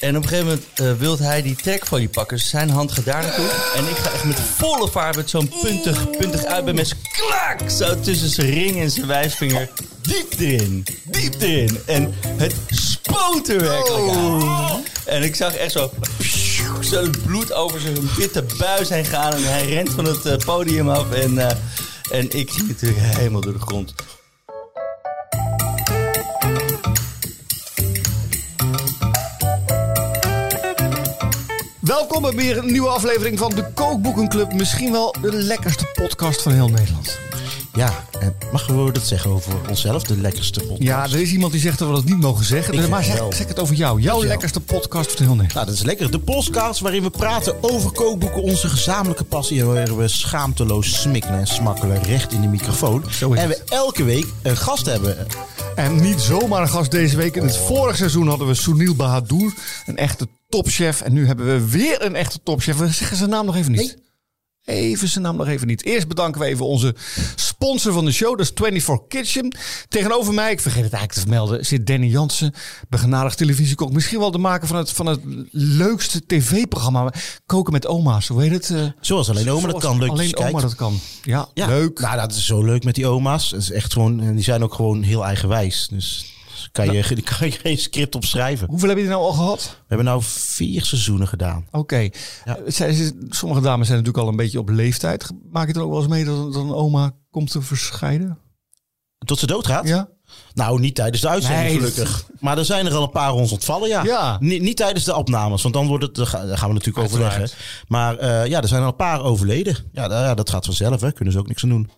En op een gegeven moment eh wil hij die trek van je pakken. Dus zijn hand gaat daar naartoe. En ik ga echt met volle vaart met zo'n puntig, puntig uit bij mensen. Klak! Zo tussen zijn ring en zijn wijsvinger. Diep erin. Diep erin. En het spoot er werkelijk uit. En ik zag echt zo... Zo het bloed over zijn witte buis heen gaan. En hij rent van het eh, podium af. En, eh, en ik ging natuurlijk helemaal door de grond. Welkom bij weer een nieuwe aflevering van de Kookboekenclub. Misschien wel de lekkerste podcast van heel Nederland. Ja, en mag we dat zeggen over onszelf? De lekkerste podcast. Ja, er is iemand die zegt dat we dat niet mogen zeggen. Ik Dus maar vind zeg, wel. zeg het over jou. Jouw jou. lekkerste podcast van heel Nederland. Nou, dat is lekker. De podcast waarin we praten over kookboeken, onze gezamenlijke passie. En waar we schaamteloos smikkelen en smakkelen recht in de microfoon. Zo is en het. we elke week een gast hebben. En niet zomaar een gast deze week. In het vorige seizoen hadden we Sunil Bahadur, een echte topchef. En nu hebben we weer een echte topchef. We zeggen zijn naam nog even niet. Even zijn naam nog even niet. Eerst bedanken we even onze sponsor van de show, dat is 24 Kitchen. Tegenover mij, ik vergeet het eigenlijk te vermelden, zit Danny Jansen, begenadigd televisiekok. Misschien wel de maker van het, van het leukste tv-programma, Koken met Oma's. Hoe heet het? eh? Zoals alleen oma dat Zoals kan. Leuk dat Alleen je oma kijkt. dat kan. Ja, Ja, leuk. Nou, dat is zo leuk met die oma's. Dat is echt gewoon, en die zijn ook gewoon heel eigenwijs. Dus kan je, Nou. daar kan je geen script op schrijven. Hoeveel heb je er nou al gehad? We hebben nou vier seizoenen gedaan. Oké. Eh, zij- ze- Sommige dames zijn natuurlijk al een beetje op leeftijd. Ge- Maak je het ook wel eens mee dat, dat een oma komt te verscheiden? Tot ze doodgaat? Ja? Nou, niet tijdens de uitzending Nee, dat- gelukkig. Maar er zijn er al een paar ons ontvallen, ja. Ja. Ni- Niet, tijdens de opnames, want dan wordt het, daar ga- daar gaan we natuurlijk overleggen. Maar eh, ja, er zijn al een paar overleden. Ja, da- ja, dat gaat vanzelf, hè. Kunnen ze ook niks aan doen.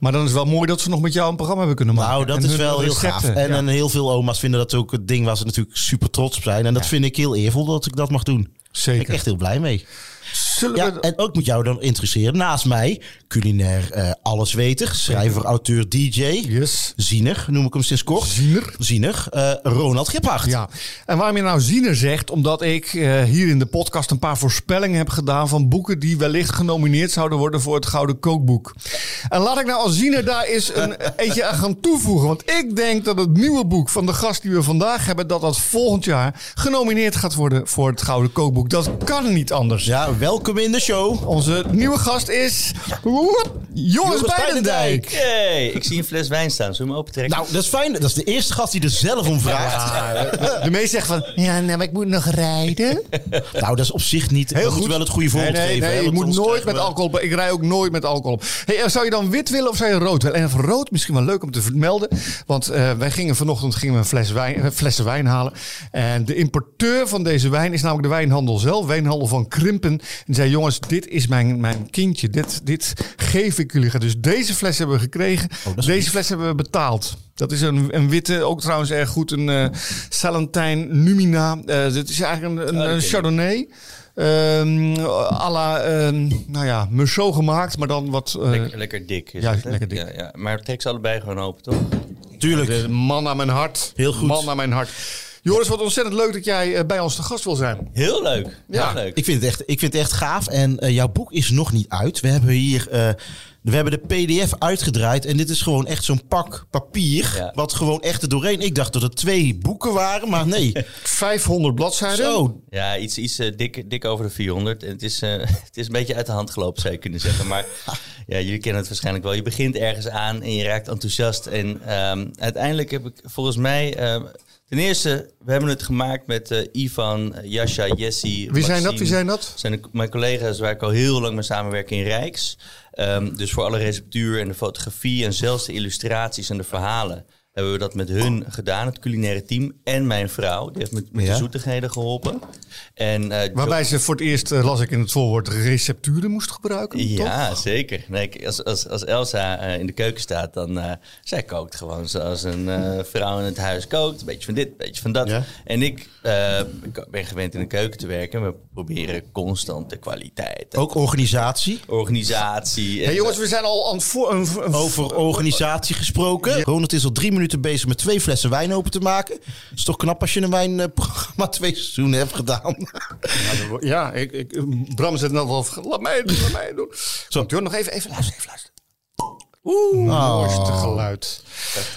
Maar dan is het wel mooi dat ze nog met jou een programma hebben kunnen maken. nou, dat En is hun wel heel gaaf. recepten. En, Ja. en heel veel oma's vinden dat ook het ding waar ze natuurlijk super trots op zijn. En dat vind ik heel eervol dat ik dat mag doen. Daar ben ik Zeker. echt heel blij mee. Zullen Ja, we... en ook moet jou dan interesseren. Naast mij, culinair eh allesweter, schrijver, auteur, dj. Yes. Ziener, noem ik hem sinds kort. Ziener. Ziener. eh, Ronald Giphacht. Ja, en waarom je nou ziener zegt, omdat ik eh, hier in de podcast een paar voorspellingen heb gedaan van boeken die wellicht genomineerd zouden worden voor het Gouden Kookboek. En laat ik nou als ziener daar eens een eentje aan gaan toevoegen, want ik denk dat het nieuwe boek van de gast die we vandaag hebben, dat dat volgend jaar genomineerd gaat worden voor het Gouden Kookboek. Dat kan niet anders. Ja, welkom in de show. Onze nieuwe gast is Joris, Joris Beidendijk. Beidendijk. Hey, ik zie een fles wijn staan. Zullen we hem opentrekken? Nou, dat is fijn. Dat is de eerste gast die er zelf om vraagt. De meest zegt van, ja, nou, maar ik moet nog rijden. Nou, dat is op zich niet... Heel we moeten wel het goede voorbeeld nee, nee, geven. hè, Nee, je want moet anders nooit krijgen met we- alcohol. op. Ik rij ook nooit met alcohol op. Hey, eh, zou je dan wit willen of zou je rood willen? En rood misschien wel leuk om te vermelden. Want eh, wij gingen vanochtend gingen we een fles wijn, eh, flessen wijn halen. En de importeur van deze wijn is namelijk de wijnhandel zelf. Wijnhandel van Krimpen. En die zei, jongens, dit is mijn, mijn kindje. Dit, dit geef ik jullie. Dus deze fles hebben we gekregen. Oh, dat is deze fles hebben we betaald. Dat is een, een witte, ook trouwens erg goed, een eh Salentijn Numina. Eh, dit is eigenlijk een, een, Oh, Ah, die een ken ik. Chardonnay. Ehm à la, ehm, nou ja, Meursault gemaakt, maar dan wat... eh, lekker, lekker dik. Is ja, het, hè? lekker dik. Ja, ja. Maar trek ze allebei gewoon open, toch? Tuurlijk. de man naar mijn hart. Heel goed. Man naar mijn hart. Joris, wat ontzettend leuk dat jij eh, bij ons te gast wil zijn. Heel leuk. Ja, Heel leuk. Ik vind, het echt, ik vind het echt gaaf. En eh, jouw boek is nog niet uit. We hebben hier. eh, we hebben de PDF uitgedraaid. En dit is gewoon echt zo'n pak papier. Ja. Wat gewoon echt er doorheen. Ik dacht dat het twee boeken waren. Maar nee. 500 bladzijden. Zo. Ja, iets, iets eh, dik, dik over de 400. En het, is, eh, het is een beetje uit de hand gelopen, zou je kunnen zeggen. Maar ja, jullie kennen het waarschijnlijk wel. Je begint ergens aan en je raakt enthousiast. En ehm, uiteindelijk heb ik volgens mij... ehm, ten eerste, we hebben het gemaakt met eh, Ivan, Jascha, Jesse, Wie zijn dat? Wie zijn dat? zijn de- mijn collega's waar ik al heel lang mee samenwerk in Rijks. Ehm, dus voor alle receptuur en de fotografie en zelfs de illustraties en de verhalen hebben we dat met hun gedaan, het culinaire team. En mijn vrouw, die heeft met, met Ja. de zoetigheden geholpen. En, eh, Waarbij ze voor het eerst, eh, las ik in het voorwoord, recepturen moest gebruiken. toch? ja, zeker. Nee, ik- als, als, als Elsa eh, in de keuken staat, dan eh zij kookt gewoon zoals een eh, vrouw in het huis kookt. Een beetje van dit, een beetje van dat. Ja. En ik eh, ik ben gewend in de keuken te werken. We proberen constant de kwaliteit, en Ook organisatie. organisatie. Hey, en- jongens, we zijn al aan het voor... Een, een- Over organisatie gesproken. Ronald is al drie minuten bezig met twee flessen wijn open te maken. is toch knap als je een wijnprogramma twee seizoenen hebt gedaan. Ja, ik, ik, Bram zet net al... Laat mij het doen, laat mij het doen. Zo, Jor, nog even, even luisteren, even luisteren. Oeh. Mooiste geluid.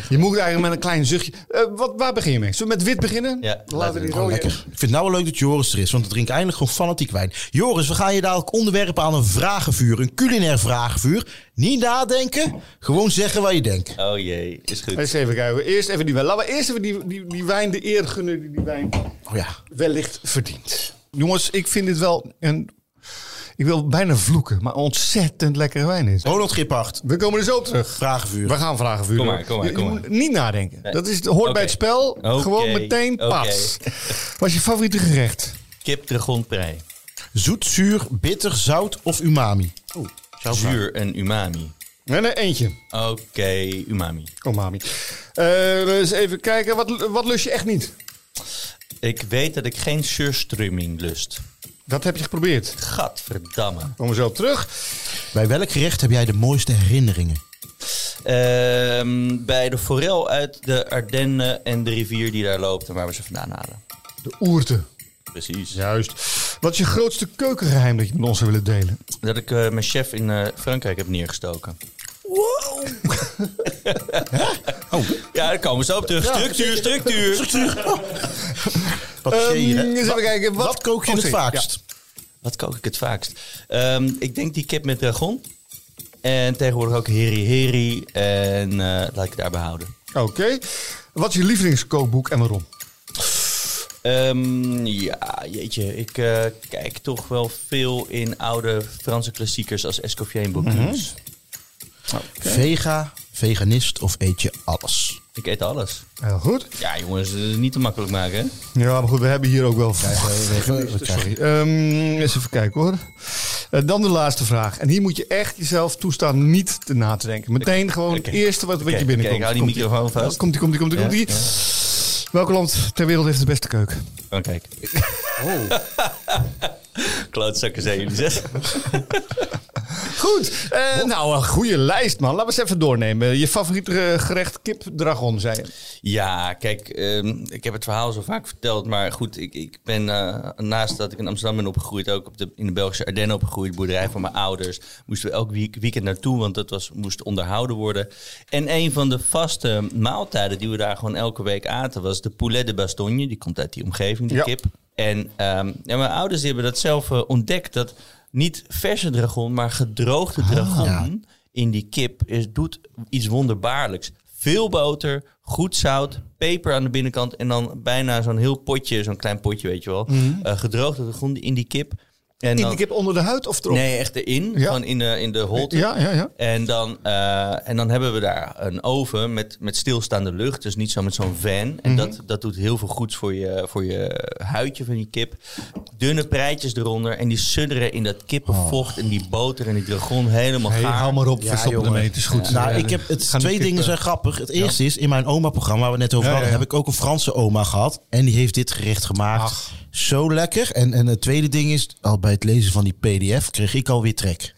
Je moet eigenlijk met een klein zuchtje... Eh, wat, waar begin je mee? Zullen we met wit beginnen? Ja, laten we Laten we die doen. rode... Lekker. Ik vind het nou wel leuk dat Joris er is, want we drinken eindelijk gewoon fanatiek wijn. Joris, we gaan je dadelijk onderwerpen aan een vragenvuur, een culinair vragenvuur. Niet nadenken, gewoon zeggen wat je denkt. Oh jee, is goed. Eens even kijken. Eerst even die wijn. Laten we eerst even die, die, die wijn de eer gunnen die die wijn Oh ja. wellicht verdient. Jongens, ik vind dit wel een... Ik wil bijna vloeken, maar ontzettend lekkere wijn is. Ronald Giphart, We komen er zo op terug. vragenvuur. We gaan vragen vuren. Kom maar, kom maar, Je- je kom maar. moet Niet nadenken. Dat is, hoort Oké. bij het spel. Oké. Gewoon meteen pas. Wat is je favoriete gerecht? Kip de grondprei. Zoet, zuur, bitter, zout of umami? Zuur en umami. Nee, nee, eentje. Oké, umami. Oh, mami. Eh, dus even kijken. Wat, wat lust je echt niet? Ik weet dat ik geen surströmming lust. Dat heb je geprobeerd. Gadverdamme. Komen we zo op terug. Bij welk gerecht heb jij de mooiste herinneringen? Ehm, bij de forel uit de Ardennen en de rivier die daar loopt en waar we ze vandaan halen. De oerte. Precies. Juist. Wat is je grootste keukengeheim dat je met ons zou willen delen? Dat ik eh, mijn chef in eh, Frankrijk heb neergestoken. Wow! Ja, daar komen ze op terug. Structuur, structuur. Wat zie je, hè? Ehm, eens even kijken. Wat, Wat kook je Oh, het sorry. vaakst? Wat kook ik het vaakst? Ehm, ik denk die kip met dragon. En tegenwoordig ook heri heri. En eh, laat ik het daarbij houden. Ja. Oké. Wat is je lievelingskookboek en waarom? Ehm, ja, jeetje. Ik eh, kijk toch wel veel in oude Franse klassiekers als Escoffier en Bocuse. Mhm. Vega, veganist of eet je alles? Ik eet alles. Heel Eh, goed. Ja, jongens, dat is niet te makkelijk maken, hè? Ja, maar goed, we hebben hier ook wel... eh, We Sorry. Ehm, eens even kijken hoor. Eh, dan de laatste vraag. En hier moet je echt jezelf toestaan niet te na te denken. Meteen gewoon Oké. het eerste wat, wat Oké, je binnenkomt. oké, ik hou die Komt-ie. microfoon vast. Ja, Komt die, komt die, komt die, komt die. Welk land ter wereld heeft de beste keuken? Frankrijk. Oh. Oh. Klootzakken zijn jullie, zeg. Goed. eh, nou, een goede lijst man. Laten we eens even doornemen. Je favoriete eh, gerecht kip dragon, zei je. Ja, kijk, ehm, ik heb het verhaal zo vaak verteld. Maar goed, ik, ik ben eh, naast dat ik in Amsterdam ben opgegroeid, ook op de, in de Belgische Ardennen opgegroeid, boerderij van mijn ouders. Moesten we elk week- weekend naartoe, want dat was, moest onderhouden worden. En een van de vaste maaltijden die we daar gewoon elke week aten, was de poulet de bastogne. Die komt uit die omgeving, die Ja. kip. En ehm, ja, mijn ouders die hebben dat zelf eh, ontdekt, dat niet verse dragon, maar gedroogde Ah. dragon in die kip is, doet iets wonderbaarlijks. Veel boter, goed zout, peper aan de binnenkant en dan bijna zo'n heel potje, zo'n klein potje, weet je wel. eh, gedroogde dragon in die kip. En Mhm. In dan, die kip onder de huid of erop? Nee, echt erin, Ja. gewoon in de, in de holte. Ja, ja, ja. En dan, eh, en dan hebben we daar een oven met, met stilstaande lucht. Dus niet zo met zo'n van. En Mhm. dat, dat doet heel veel goeds voor je, voor je huidje van die kip. Dunne preitjes eronder. En die sudderen in dat kippenvocht. En die boter en die dragon helemaal Hey, gaar. hou maar op, Ja, verstoppen jongen. ermee. Het is goed. Nou, Eh, ik heb het, gaan die twee kippen- dingen zijn grappig. Het eerste is, in mijn oma-programma waar we het net over Ja, hadden, ja, ja. heb ik ook een Franse oma gehad. En die heeft dit gerecht gemaakt. Ach. Zo lekker. En, en het tweede ding is, al bij het lezen van die pdf kreeg ik alweer trek.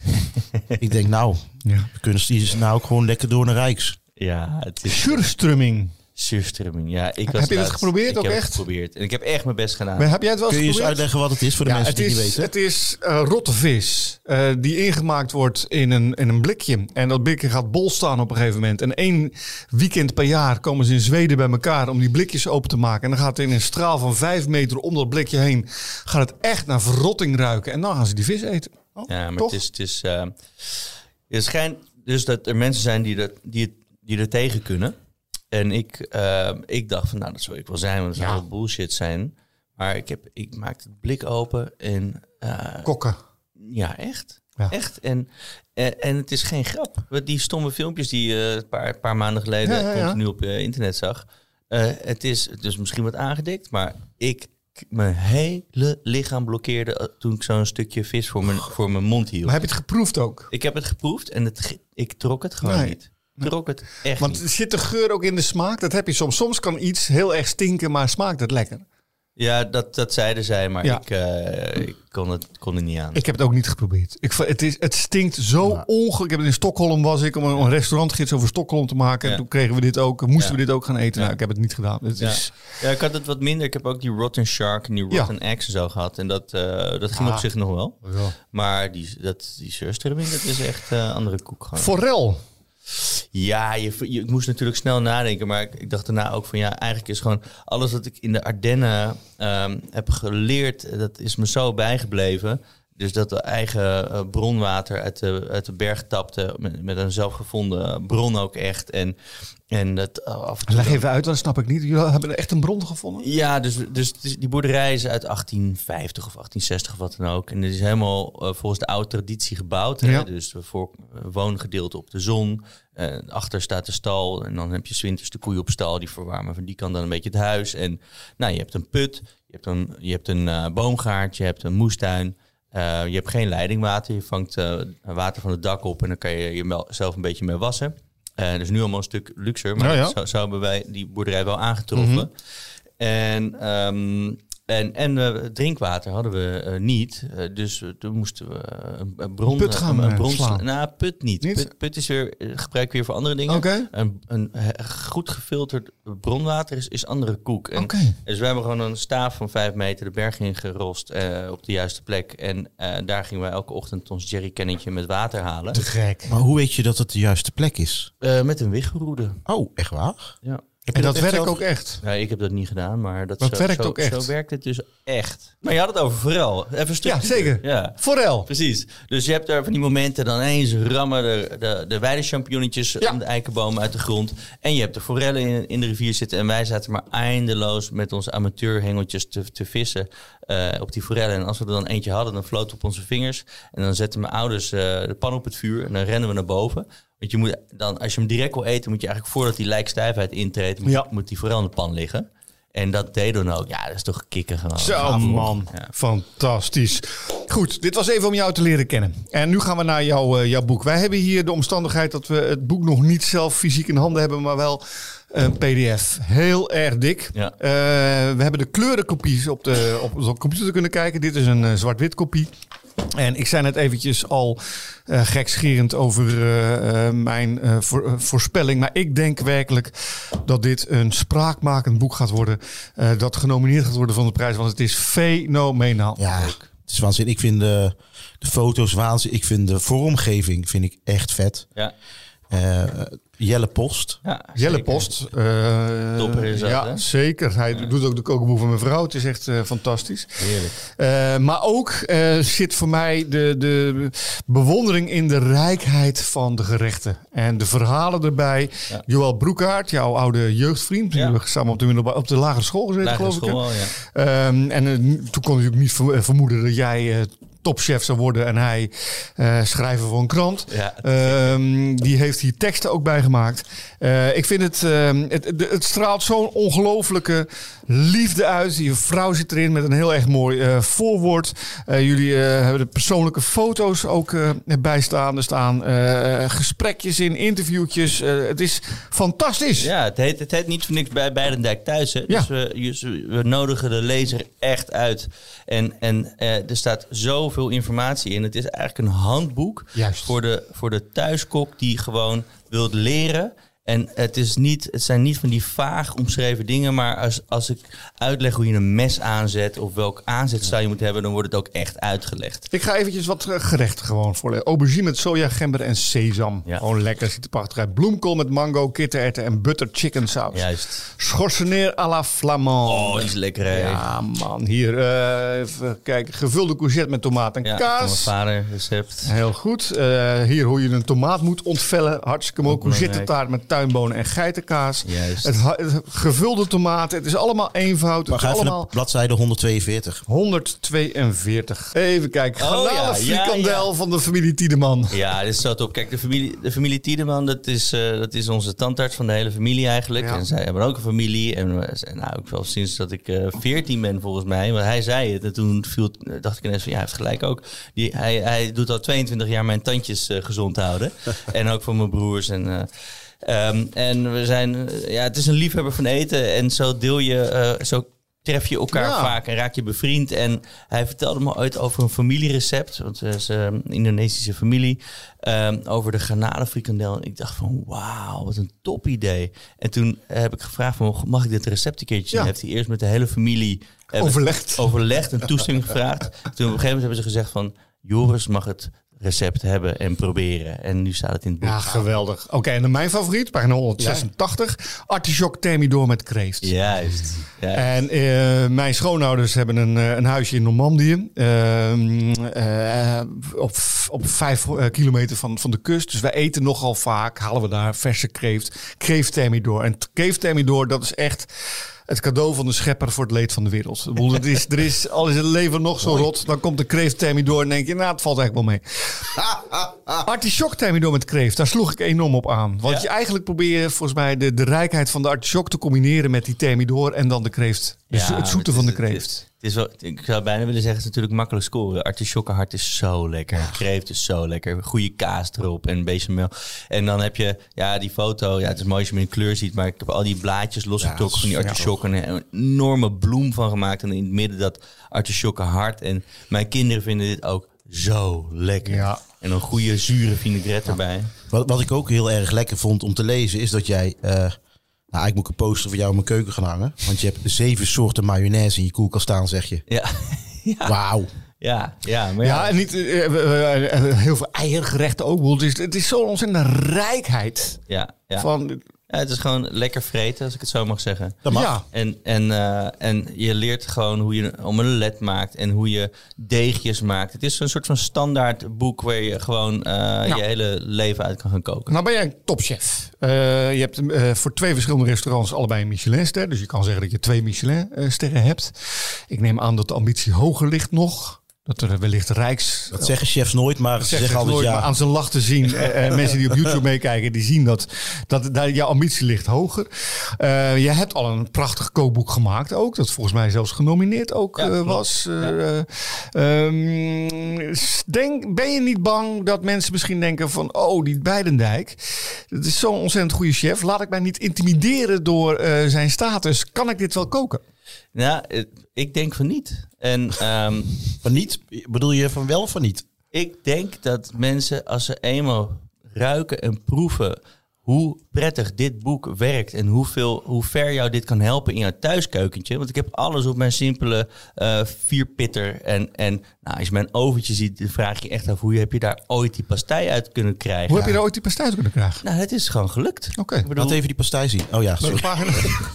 ik denk, nou, Ja. we kunnen ze hier nou ook gewoon lekker door naar Rijks. Ja, het is Surströmming. surströmming. Ja, ik was Heb je dat laatst- geprobeerd ik ook heb het echt? geprobeerd. En ik heb echt mijn best gedaan. Maar Heb jij het wel eens Kun je eens geprobeerd? uitleggen wat het is voor de mensen het die is, het niet weten? Het is eh, rotte vis eh, die ingemaakt wordt in een, in een blikje. En dat blikje gaat bol staan op een gegeven moment. En één weekend per jaar komen ze in Zweden bij elkaar om die blikjes open te maken. En dan gaat er in een straal van vijf meter om dat blikje heen, gaat het echt naar verrotting ruiken. En dan gaan ze die vis eten. Oh, Ja, maar toch? het is... Het is eh, het schijnt dus dat er mensen zijn die, dat, die, het, die er tegen kunnen. En ik, eh, ik dacht van, nou, dat zou ik wel zijn, want dat zou Ja. wel bullshit zijn. Maar ik, heb, ik maakte het blik open en... eh, Kokken. ja, echt. Ja. Echt. En, en, en het is geen grap. Want Die stomme filmpjes die je een paar, paar maanden geleden Ja, ja, ja. continu op eh, internet zag. eh, het, is, het is misschien wat aangedikt, maar ik... k- Mijn hele lichaam blokkeerde eh, toen ik zo'n stukje vis voor mijn, voor mijn mond hield. Maar heb je het geproefd ook? Ik heb het geproefd en het, ge- ik trok het gewoon Nee. niet. Ik trok het echt Want niet. zit de geur ook in de smaak? Dat heb je soms. Soms kan iets heel erg stinken, maar smaakt het lekker. Ja, dat, dat zeiden zij, maar Ja. ik, eh, ik kon, het, kon het niet aan. Ik heb het ook niet geprobeerd. Ik, va- het, is, het stinkt zo ongelooflijk. Ik heb het In Stockholm was ik om een, een restaurantgids over Stockholm te maken. Ja. En toen kregen we dit ook. Moesten Ja. we dit ook gaan eten? Nou, ik heb het niet gedaan. Het Ja. is, ja, ik had het wat minder. Ik heb ook die Rotten Shark en die Ja. Ah. Rotten Eggs en zo gehad. En dat, eh, dat ging op zich nog Oh, wel. Maar die, dat, die surströmming, dat is echt eh, andere koek gewoon. Forel. Ja, je, je- ik moest natuurlijk snel nadenken, maar ik, ik dacht daarna ook van ja, eigenlijk is gewoon alles wat ik in de Ardennen ehm, heb geleerd, eh, dat is me zo bijgebleven. Dus dat de eigen eh, bronwater uit de, uit de berg tapte, met, met een zelfgevonden bron ook echt. En, en dat af en toe- Leg even uit, dan snap ik niet. Jullie hebben echt een bron gevonden? Ja, dus, dus het is- die boerderij is uit 1850 of 1860 of wat dan ook. En het is helemaal eh, volgens de oude traditie gebouwd. hè. Ja. Dus voor eh, woongedeelte op de zon. Eh, achter staat de stal. En dan heb je 's winters de koeien op stal. Die verwarmen van die kant dan een beetje het huis. En nou, je hebt een put. Je hebt een, je hebt een eh, boomgaard. Je hebt een moestuin. Eh, je hebt geen leidingwater. Je vangt eh, water van het dak op. En dan kan je jezelf een beetje mee wassen. Eh dus nu allemaal een stuk luxer. Maar Nou Ja, Mhm. ja. dat zou- zo hebben wij die boerderij wel aangetroffen. En, ehm, en, en eh, drinkwater hadden we eh, niet. Eh, dus eh, toen moesten we eh, een- een bron... Put gaan, een eh, bron slaan. sla- Nou, put niet. Niet? Put, put is weer, eh, gebruik weer voor andere dingen. Oké. Een, een he- goed gefilterd bronwater is, is andere koek. En Oké. Dus we hebben gewoon een staaf van vijf meter de berg ingerost eh op de juiste plek. En eh, daar gingen wij elke ochtend ons jerrycannetje met water halen. gek. Maar hoe weet je dat het de juiste plek is? Eh, met een wiggeroede. Oh, echt waar? Ja. Heb je En dat echt werkt zelf- ook echt. Ja, ik heb dat niet gedaan, maar dat, Dat zo, werkt zo, ook echt. Zo werkt het dus echt. Maar je had het over vooral. Even een stukje. Ja, zeker. Ja, Forel. precies. Dus je hebt daar van die momenten dan eens rammen de, de, de weidechampignonnetjes Ja. om de eikenbomen uit de grond. En je hebt de forellen in, in de rivier zitten. En wij zaten maar eindeloos met onze amateurhengeltjes te, te vissen eh, op die forellen. En als we er dan eentje hadden, dan floot het op onze vingers. En dan zetten mijn ouders eh, de pan op het vuur en dan rennen we naar boven. Want je moet dan, als je hem direct wil eten, moet je eigenlijk voordat die lijkstijfheid intreedt, moet, Ja. moet die forel in de pan liggen. En dat deed dan ook. Ja, dat is toch kikken gewoon. Zo, Ah, man. Ja. Fantastisch. Goed, dit was even om jou te leren kennen. En nu gaan we naar jouw, eh, jouw boek. Wij hebben hier de omstandigheid dat we het boek nog niet zelf fysiek in handen hebben, maar wel een PDF. Heel erg dik. Ja. Eh, we hebben de kleurenkopies op de, op de computer kunnen kijken. Dit is een eh, zwart-wit kopie. En ik zei net eventjes al eh gekscherend over eh, eh, mijn eh, voor- eh, voorspelling. Maar ik denk werkelijk dat dit een spraakmakend boek gaat worden. eh, dat genomineerd gaat worden van de prijs. Want het is fenomenaal. Ja, het is waanzin. Ik vind de, de foto's waanzin. Ik vind de vormgeving vind ik echt vet. Ja. Eh, Jelle Post. Ja, Jelle zeker. Post. eh, Topper is dat, ja, hè? zeker. Hij doet ook de kookboek van mijn vrouw. Het is echt eh, fantastisch. Heerlijk. Eh, maar ook eh, zit voor mij de, de bewondering in de rijkheid van de gerechten. En de verhalen erbij. Ja. Joël Broekaert, jouw oude jeugdvriend. Die Ja. hebben we samen op de, middelba- op de lagere school gezeten, Lagere geloof ik. hè? school al, ja. Ehm, en eh, toen kon ik natuurlijk niet ver- eh, vermoeden dat jij eh, topchef zou worden. En hij eh, schrijver voor een krant. Ja, Ehm, die heeft hier teksten ook bij gemaakt. Eh, ik vind het, ehm, het, het, het straalt zo'n ongelofelijke liefde uit. Je vrouw zit erin met een heel erg mooi eh, voorwoord. Eh, jullie eh, hebben de persoonlijke foto's ook eh, erbij staan. Er staan eh, gesprekjes in, interviewtjes. Eh, het is fantastisch. Ja, het heet, het heet niet voor niks bij Beidendijk thuis. Hè? Dus we, dus we nodigen de lezer echt uit. En, en eh, er staat zoveel informatie in. Het is eigenlijk een handboek Juist. Voor, de, voor de thuiskok die gewoon wilt leren. En het, is niet, het zijn niet van die vaag omschreven dingen. Maar als, als ik uitleg hoe je een mes aanzet of welk aanzetstijl je moet hebben, dan wordt het ook echt uitgelegd. Ik ga eventjes wat eh, gerechten gewoon voorlezen. Aubergine met soja, gember en sesam. Ja. Gewoon lekker, ziet er prachtig uit. Bloemkool met mango, kittererwten en butter chicken saus. Juist. Schorseneer à la flamand. Oh, die is lekker hè. ja, man. Hier, eh even kijken. Gevulde courgette met tomaat en Ja, van mijn kaas. vader recept. Heel goed. Eh, hier hoe je een tomaat moet ontvellen. Hartstikke mooi. belangrijk. Courgette taart met tuinbonen en geitenkaas. Juist. Het, ha- het gevulde tomaat. Het is allemaal eenvoud. Maar het ga is even allemaal naar bladzijde 142. 142. Even kijken. Oh, ja, Garnalenfrikandel ja, ja. van de familie Tiedeman. Ja, dit is zo top. Kijk, de familie, de familie Tiedeman, dat is, eh, dat is onze tandarts van de hele familie eigenlijk. Ja. En zij hebben ook een familie. En we zijn- nou, ook wel sinds dat ik eh, veertien ben volgens mij. Want hij zei het en toen viel, het- dacht ik ineens van ja, hij heeft gelijk ook. Die, hij, hij doet al 22 jaar mijn tandjes eh, gezond houden. en ook voor mijn broers en... eh, ehm, en we zijn, eh, ja, het is een liefhebber van eten. En zo deel je, eh, zo tref je elkaar Ja. vaak en raak je bevriend. En hij vertelde me ooit over een familierecept. Want het is eh, een Indonesische familie. ehm, over de garnalenfrikandel. En ik dacht van wauw, wat een top idee. En toen heb ik gevraagd van mag ik dit recept een keertje zien? Ja. Heeft hij eerst met de hele familie eh, Overlegd. overlegd en toestemming gevraagd. Toen op een gegeven moment hebben ze gezegd van... Joris mag het recept hebben en proberen. En nu staat het in het boek. Ja, geweldig. Oké, en dan mijn favoriet, pagina 186. Artichok thermidor met kreeft. Juist. Ja. En eh, mijn schoonouders hebben een, eh, een huisje in Normandië. ehm, eh, op, op vijf eh, kilometer van, van de kust. Dus wij eten nogal vaak. Halen we daar verse kreeft. Kreeftermidor. En t- kreeftermidor, dat is echt het cadeau van de schepper voor het leed van de wereld. Ik bedoel, het is, er is, al is het leven nog zo rot, dan komt de kreeftermidor en denk je, nou, het valt eigenlijk wel mee. Artichoktermidor met kreeft, daar sloeg ik enorm op aan. Want Ja. je eigenlijk probeer je volgens mij de, de rijkheid van de artichok te combineren met die termidor en dan de kreeft. De zo- Ja, Dus het zoete is- van de het is- kreeft. Het is wel, ik zou bijna willen zeggen, het is natuurlijk makkelijk scoren. Artichokkenhart is zo lekker. Kreeft is zo lekker. Goede kaas erop en bechamel. En dan heb je, ja, die foto. Ja, het is mooi als je hem in kleur ziet. Maar ik heb al die blaadjes losgetrokken van die artichokken. En er een enorme bloem van gemaakt. En in het midden dat artichokkenhart. En mijn kinderen vinden dit ook zo lekker. Ja. En een goede zure vinaigrette erbij. Wat, wat ik ook heel erg lekker vond om te lezen, is dat jij. eh, nou, ik moet een poster van jou in mijn keuken gaan hangen. Want je hebt zeven soorten mayonaise in je koelkast staan, zeg je. Ja, ja, Wauw. ja, ja. Maar ja, Ja, en niet, eh, eh, eh, eh, heel veel eiergerechten ook. Ik bedoel, Het is, het is zo'n ontzettende rijkheid. ja, ja. Van, Ja, het is gewoon lekker vreten, als ik het zo mag zeggen. Dat mag. Ja. En, en, eh, en je leert gewoon hoe je een omelet maakt en hoe je deegjes maakt. Het is een soort van standaard boek waar je gewoon eh, je hele leven uit kan gaan koken. Nou ben jij een topchef. Eh, je hebt eh, voor twee verschillende restaurants allebei een Michelinster. Dus je kan zeggen dat je twee Michelin-sterren hebt. Ik neem aan dat de ambitie hoger ligt nog. Dat er wellicht Rijks... Dat zeggen chefs nooit, maar ze Zeg zeggen altijd nooit, maar ja. aan zijn lach te zien. Eh, eh, mensen die op YouTube meekijken, die zien dat, dat daar, jouw ambitie ligt hoger. Eh, je hebt al een prachtig kookboek gemaakt ook. Dat volgens mij zelfs genomineerd ook Ja, eh, klopt. was. Eh, eh, ehm, s- denk, ben je niet bang dat mensen misschien denken van... oh, die Beidendijk, dat is zo'n ontzettend goede chef. Laat ik mij niet intimideren door eh, zijn status. Kan ik dit wel koken? Nou, eh, ik denk van niet. En ehm, Van niet? Bedoel je van wel of van niet? ik denk dat mensen, als ze eenmaal ruiken en proeven hoe prettig dit boek werkt en hoeveel, hoe ver jou dit kan helpen in jouw thuiskeukentje. Want ik heb alles op mijn simpele eh, vierpitter. En, en nou, als je mijn oventje ziet, dan vraag je je echt af hoe heb je daar ooit die pastei uit kunnen krijgen. Hoe heb je daar ooit die pastijs kunnen krijgen? Nou, het is gewoon gelukt. Oké. Ik bedoel, Laat even die pastei zien. Oh ja, sorry.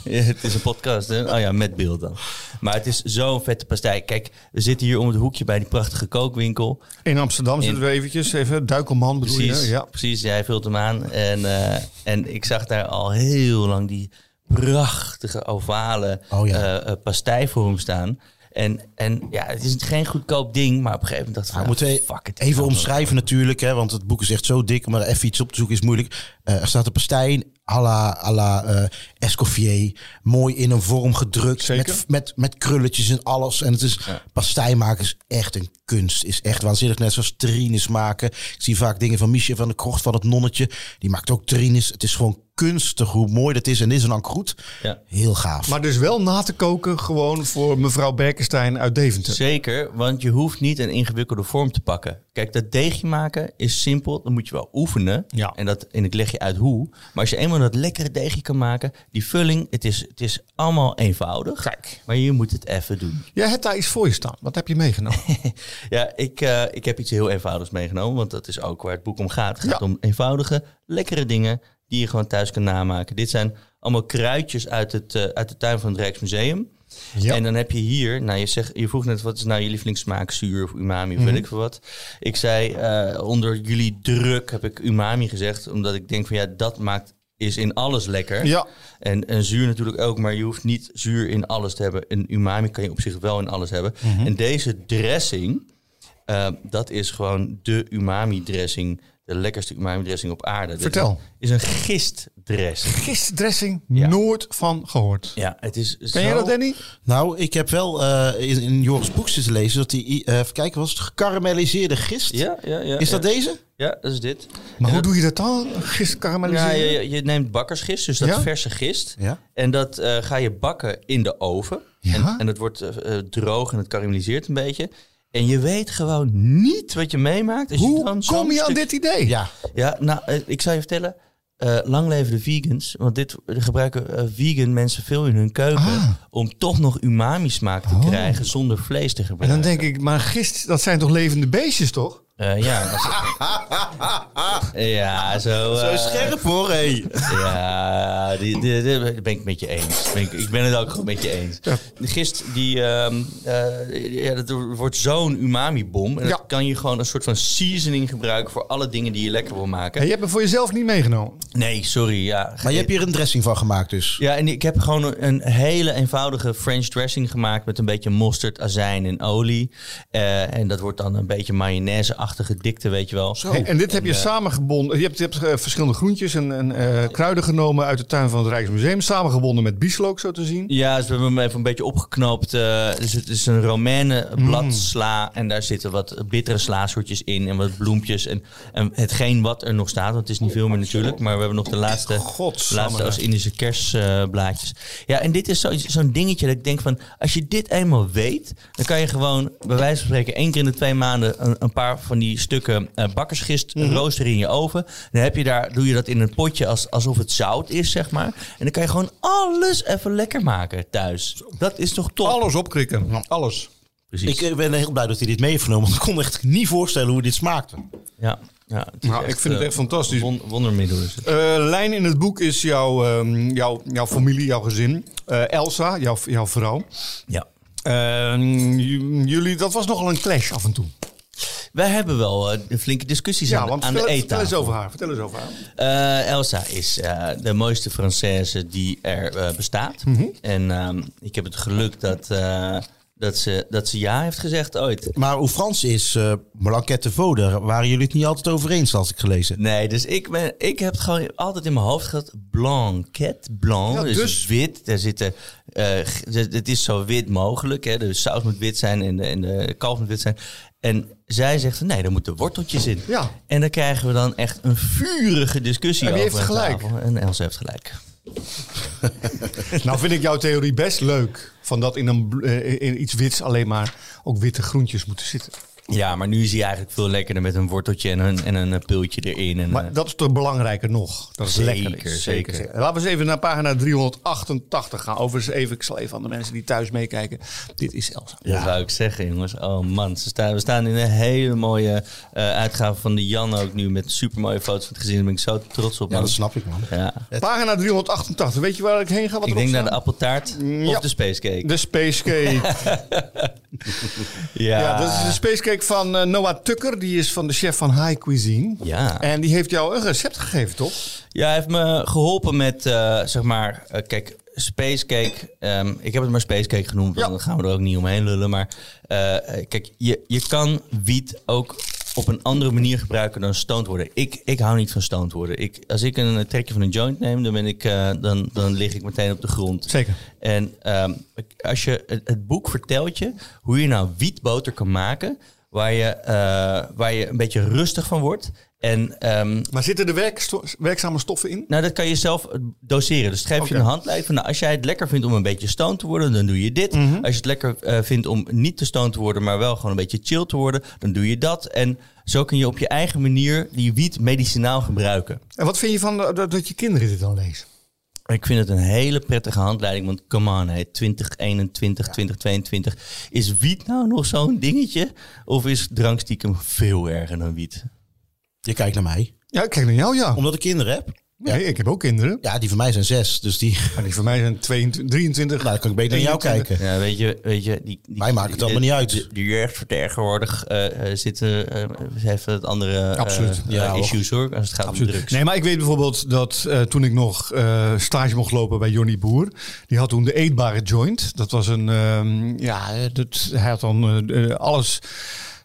ja, het is een podcast, hè? Oh ja, met beeld dan. Maar het is zo'n vette pastei. Kijk, we zitten hier om het hoekje bij die prachtige kookwinkel. In Amsterdam zitten we eventjes. Even Duikelman bedoel Precies, je? Ja. precies. Jij vult hem aan. En, eh, en ik zag daar al heel lang die prachtige ovale Oh ja. eh, eh, pastei voor hem staan. En, en ja, het is geen goedkoop ding, maar op een gegeven moment dacht ik, Nou, van, moeten we ah, fuck it. even Nou, omschrijven natuurlijk, hè, want het boek is echt zo dik, maar even iets op te zoeken is moeilijk. Eh, er staat een pastei in, à la, à la eh, Escoffier, mooi in een vorm gedrukt, Zeker. met, met, met krulletjes en alles. En het is, pastei maken is echt een kunst, is echt waanzinnig, net zoals terrines maken. Ik zie vaak dingen van Michel van de Krocht, van het nonnetje, die maakt ook terrines. Het is gewoon kunstig hoe mooi dat is en dit is een ankroet. Ja. Heel gaaf. Maar dus wel na te koken gewoon voor mevrouw Berkenstein uit Deventer. Zeker, want je hoeft niet een ingewikkelde vorm te pakken. Kijk, dat deegje maken is simpel. Dan moet je wel oefenen. Ja. En, dat, en ik leg je uit hoe. Maar als je eenmaal dat lekkere deegje kan maken, die vulling, het is, het is allemaal eenvoudig. Kijk. Maar je moet het even doen. Jij hebt daar iets voor je staan. Wat heb je meegenomen? Ja, ik, eh, ik heb iets heel eenvoudigs meegenomen, want dat is ook waar het boek om gaat. Het gaat Ja. om eenvoudige, lekkere dingen die je gewoon thuis kan namaken. Dit zijn allemaal kruidjes uit, het, eh, uit de tuin van het Rijksmuseum. Ja. En dan heb je hier, nou je, zegt, je vroeg net wat is nou je lievelingssmaak, zuur of umami Mhm. of weet ik veel wat. Ik zei eh, onder jullie druk heb ik umami gezegd, omdat ik denk van ja, dat maakt is in alles lekker. Ja. En, en zuur natuurlijk ook, maar je hoeft niet zuur in alles te hebben. Een umami kan je op zich wel in alles hebben. Mhm. En deze dressing, eh, dat is gewoon de umami-dressing. De lekkerste umami-dressing op aarde. Dit Vertel. is een gistdressing. Gisterdressing, Ja. eh, nooit van gehoord. Ja, het is zo... Ken jij dat, Danny? Nou, ik heb wel eh, in, in Joris boek zitten lezen dat die, eh even kijken, was het gekarameliseerde gist? Ja, ja, ja. Is ja. dat deze? Ja, dat is dit. Maar En hoe dat- doe je dat dan? Gist Ja, karamelliseren? je, je neemt bakkersgist, dus dat Ja? verse gist. Ja. En dat eh, ga je bakken in de oven. Ja. En, en het wordt eh, eh, droog en het karamelliseert een beetje. En je weet gewoon niet wat je meemaakt. als Hoe dan zo'n kom je aan stuk- dit idee? Ja. Ja, nou, eh, ik zou je vertellen. eh, lang leven de vegans. Want dit gebruiken eh, vegan mensen veel in hun keuken. Ah. Om toch nog umami smaak te Oh. krijgen zonder vlees te En gebruiken. dan denk ik, maar gist, dat zijn toch levende beestjes, toch? Eh, ja, dat is- ja, zo. eh, hoor, hé. Ja, die, die, die- die ben ik met je eens. Ben ik, ik ben het ook gewoon met je eens. Gisteren, die, ehm, eh, ja, dat wordt zo'n umami-bom. En Ja. dat kan je gewoon een soort van seasoning gebruiken voor alle dingen die je lekker wil maken. Hey, je hebt hem voor jezelf niet meegenomen. Nee, sorry. Ja, Maar je hebt hier een dressing van gemaakt dus. ja, en ik heb gewoon een hele eenvoudige French dressing gemaakt met een beetje mosterd, azijn en olie. Eh, en dat wordt dan een beetje mayonaise-achtige dikte, weet je wel. Hey, en dit heb je samengebonden. Je hebt, je hebt eh, verschillende groentjes en, en eh, kruiden genomen uit de tuin van het Rijksmuseum. Samengebonden met bieslook, zo te zien. Ja, dus we hebben hem even een beetje opgeknoopt. eh, dus het is een romaine bladsla. En daar zitten wat bittere slaasoortjes in en wat bloempjes. En, en hetgeen wat er nog staat, want het is niet veel meer natuurlijk. Maar we hebben nog de laatste, Godsamme. laatste als Indische kerstblaadjes. ja, en dit is zo- zo'n dingetje dat ik denk van... Als je dit eenmaal weet, dan kan je gewoon bij wijze van spreken... één keer in de twee maanden een, een paar van die stukken eh, bakkersgist Mhm. roosteren in je oven. Dan heb je daar, doe je dat in een potje als, alsof het zout is, zeg maar. En dan kan je gewoon alles even lekker maken thuis. Dat is toch top? Alles opkrikken. Alles. Precies. Ik eh, ben heel blij dat hij dit mee heeft genomen. Want ik kon me echt niet voorstellen hoe dit smaakte. ja, ja, het is Nou, ik vind het eh, echt fantastisch. won- wondermiddel is het. Eh, lijn in het boek is jouw, ehm, jouw, jouw familie, jouw gezin. Eh, Elsa, jouw, jouw vrouw. Ja. Ehm, j- jullie, dat was nogal een clash af en toe. Wij hebben wel eh, flinke discussies Ja, aan, de- want aan de vertel, eettafel. vertel eens over haar. Vertel eens over haar. Eh, Elsa is eh, de mooiste Française die er eh, bestaat. Mhm. En ehm, ik heb het geluk dat, eh, dat, ze, dat ze ja heeft gezegd ooit. Maar hoe Frans is, eh Blanquette de Vaux, daar waren jullie het niet altijd over eens, had ik gelezen. Nee, dus ik, ben, ik heb het gewoon altijd in mijn hoofd gehad. Blanquette, blanc, Ja, dus, dus- wit. Daar zitten, eh, g- d- het is zo wit mogelijk. Hè. De saus moet wit zijn en de, en de kalf moet wit zijn. En zij zegt, van, nee, daar moeten worteltjes in. Ja. En dan krijgen we dan echt een vurige discussie En wie over heeft aan gelijk? tafel. En Elsa heeft gelijk. Nou vind ik jouw theorie best leuk. Van dat in, een, bl- eh, in iets wits alleen maar ook witte groentjes moeten zitten. Ja, maar nu is hij eigenlijk veel lekkerder met een worteltje en een, en een eh, pultje erin. En, Maar eh, dat is toch belangrijker nog? Dat is Zeker, lekker. is. zeker. Laten we eens even naar pagina 388 gaan. Overigens, even, ik zal even aan de mensen die thuis meekijken. Dit is Elsa. Dat zou ik zeggen, jongens. Oh man, ze staan, we staan in een hele mooie eh, uitgave van de Jan ook nu. Met supermooie foto's van het gezin. Daar ben ik zo trots op. Ja, man. dat snap ik, man. Ja. Pagina 388. Weet je waar ik heen ga? Wat Ik erop denk naar de staat? appeltaart ja. of de spacecake. de Space Cake. ja. ja, dat is de Space Cake van eh, Noah Tucker. Die is van de chef van High Cuisine. Ja. En die heeft jou een recept gegeven, toch? Ja, hij heeft me geholpen met, eh, zeg maar, eh, kijk, Spacecake. ehm ik heb het maar Spacecake genoemd, want Ja. dan gaan we er ook niet omheen lullen. Maar eh, eh, kijk, je, je kan wiet ook op een andere manier gebruiken dan stoned worden. Ik, ik hou niet van stoned worden. Ik, als ik een eh, trekje van een joint neem, dan, ben ik, eh, dan, dan lig ik meteen op de grond. Zeker. En ehm, als je, het, het boek vertelt je hoe je nou wietboter kan maken... Waar je, eh, waar je een beetje rustig van wordt. En ehm, Maar zitten er werksto- werkzame stoffen in? nou, dat kan je zelf eh, doseren. Dus het geeft Oké. je een handleiding van... Nou, als jij het lekker vindt om een beetje stoned te worden, dan doe je dit. Als je het lekker eh, vindt om niet te stoned te worden... maar wel gewoon een beetje chill te worden, dan doe je dat. En zo kun je op je eigen manier die wiet medicinaal gebruiken. En wat vind je van eh, dat dat je kinderen dit dan lezen? Ik vind het een hele prettige handleiding. Want come on, hey, 2021, 2022. Is wiet nou nog zo'n dingetje? Of is drank stiekem veel erger dan wiet? Je kijkt naar mij. Ja, ik kijk naar jou, ja. Omdat ik kinderen heb. Ja, Nee, ik heb ook kinderen. ja die van mij zijn zes, dus die... Maar die van mij zijn 22, 23. Nou, dan kan ik beter naar jou 21. kijken. Ja, weet je, weet je die, die- Wij maken het allemaal niet uit. De, de jeugd vertegenwoordig eh, eh, zitten, eh ze hebben het andere eh, Absoluut. eh, Ja, hoor. issues hoor, als het gaat om drugs. Nee, maar ik weet bijvoorbeeld dat eh, toen ik nog eh, stage mocht lopen bij Johnny Boer, die had toen de eetbare joint. Dat was een, ehm, ja, dat, hij had dan eh, eh, alles.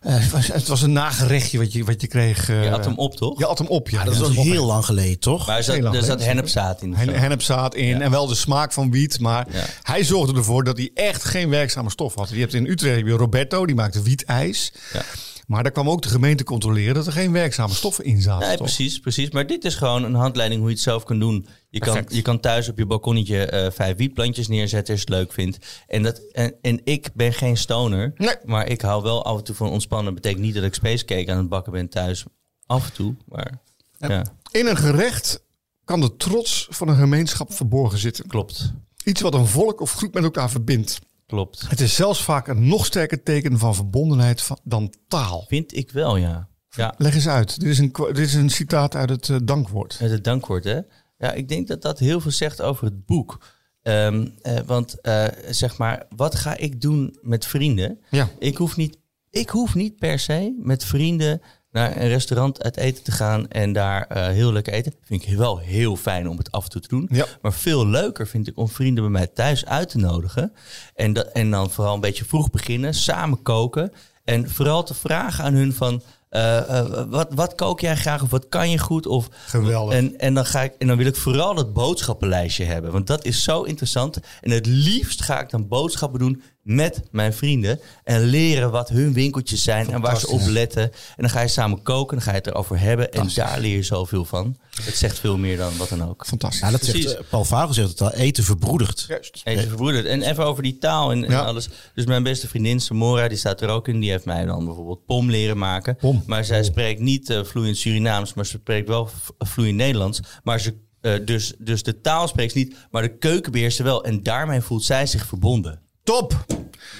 eh, het was- het was een nagerechtje wat je, wat je kreeg. eh, Je had hem op, Ah, toch? Je had hem op, ja. Maar dat is Ja, al op. heel lang geleden, toch? Maar er Heel zat, lang er zat geleden. hennepzaad in. of Hen- zo. Hennepzaad in en wel de smaak van wiet. Maar Ja. hij zorgde ervoor dat hij echt geen werkzame stof had. Je hebt in Utrecht heb je Roberto, die maakte wietijs. Ja. Maar daar kwam ook de gemeente controleren dat er geen werkzame stoffen in zaten. Nee, toch? precies, precies. Maar dit is gewoon een handleiding hoe je het zelf kan doen. Je, kan, Perfect. je kan thuis op je balkonnetje eh, vijf wietplantjes neerzetten als je het leuk vindt. En, dat, en, en ik ben geen stoner, Nee. maar ik hou wel af en toe van ontspannen. betekent niet dat ik spacecake aan het bakken ben thuis. Af en toe, maar ja, In een gerecht kan de trots van een gemeenschap verborgen zitten. klopt. Iets wat een volk of groep met elkaar verbindt. Klopt. Het is zelfs vaak een nog sterker teken van verbondenheid van- dan taal. Vind ik wel, ja. Ja. Leg eens uit. Dit is een, kwa- dit is een citaat uit het eh, dankwoord. Met het dankwoord, hè? Ja, ik denk dat dat heel veel zegt over het boek. Ehm, eh, want eh, zeg maar, wat ga ik doen met vrienden? Ja. Ik hoef, niet, ik hoef niet per se met vrienden naar een restaurant uit eten te gaan en daar eh, heel lekker eten. Vind ik wel heel fijn om het af en toe te doen. Ja. Maar veel leuker vind ik om vrienden bij mij thuis uit te nodigen. En, dat, en dan vooral een beetje vroeg beginnen, samen koken. En vooral te vragen aan hun van, eh, eh, wat, wat kook jij graag of wat kan je goed? Of, Geweldig. En, en, dan ga ik, en dan wil ik vooral dat boodschappenlijstje hebben. Want dat is zo interessant. En het liefst ga ik dan boodschappen doen met mijn vrienden. En leren wat hun winkeltjes zijn en waar ze op letten. En dan ga je samen koken, dan ga je het erover hebben. En daar leer je zoveel van. Het zegt veel meer dan wat dan ook. Fantastisch. Ja, dat zegt, Precies. eh, Paul Vagel zegt het al, eten verbroedert. Even verbroederd. En even over die taal en, en Ja. alles. Dus mijn beste vriendin Samora, die staat er ook in. Die heeft mij dan bijvoorbeeld pom leren maken. Pom. Maar zij spreekt niet eh, vloeiend Surinaams, maar ze spreekt wel v- vloeiend Nederlands. Maar ze, eh, dus, dus de taal spreekt ze niet, maar de keuken beheerst ze wel. En daarmee voelt zij zich verbonden. Top!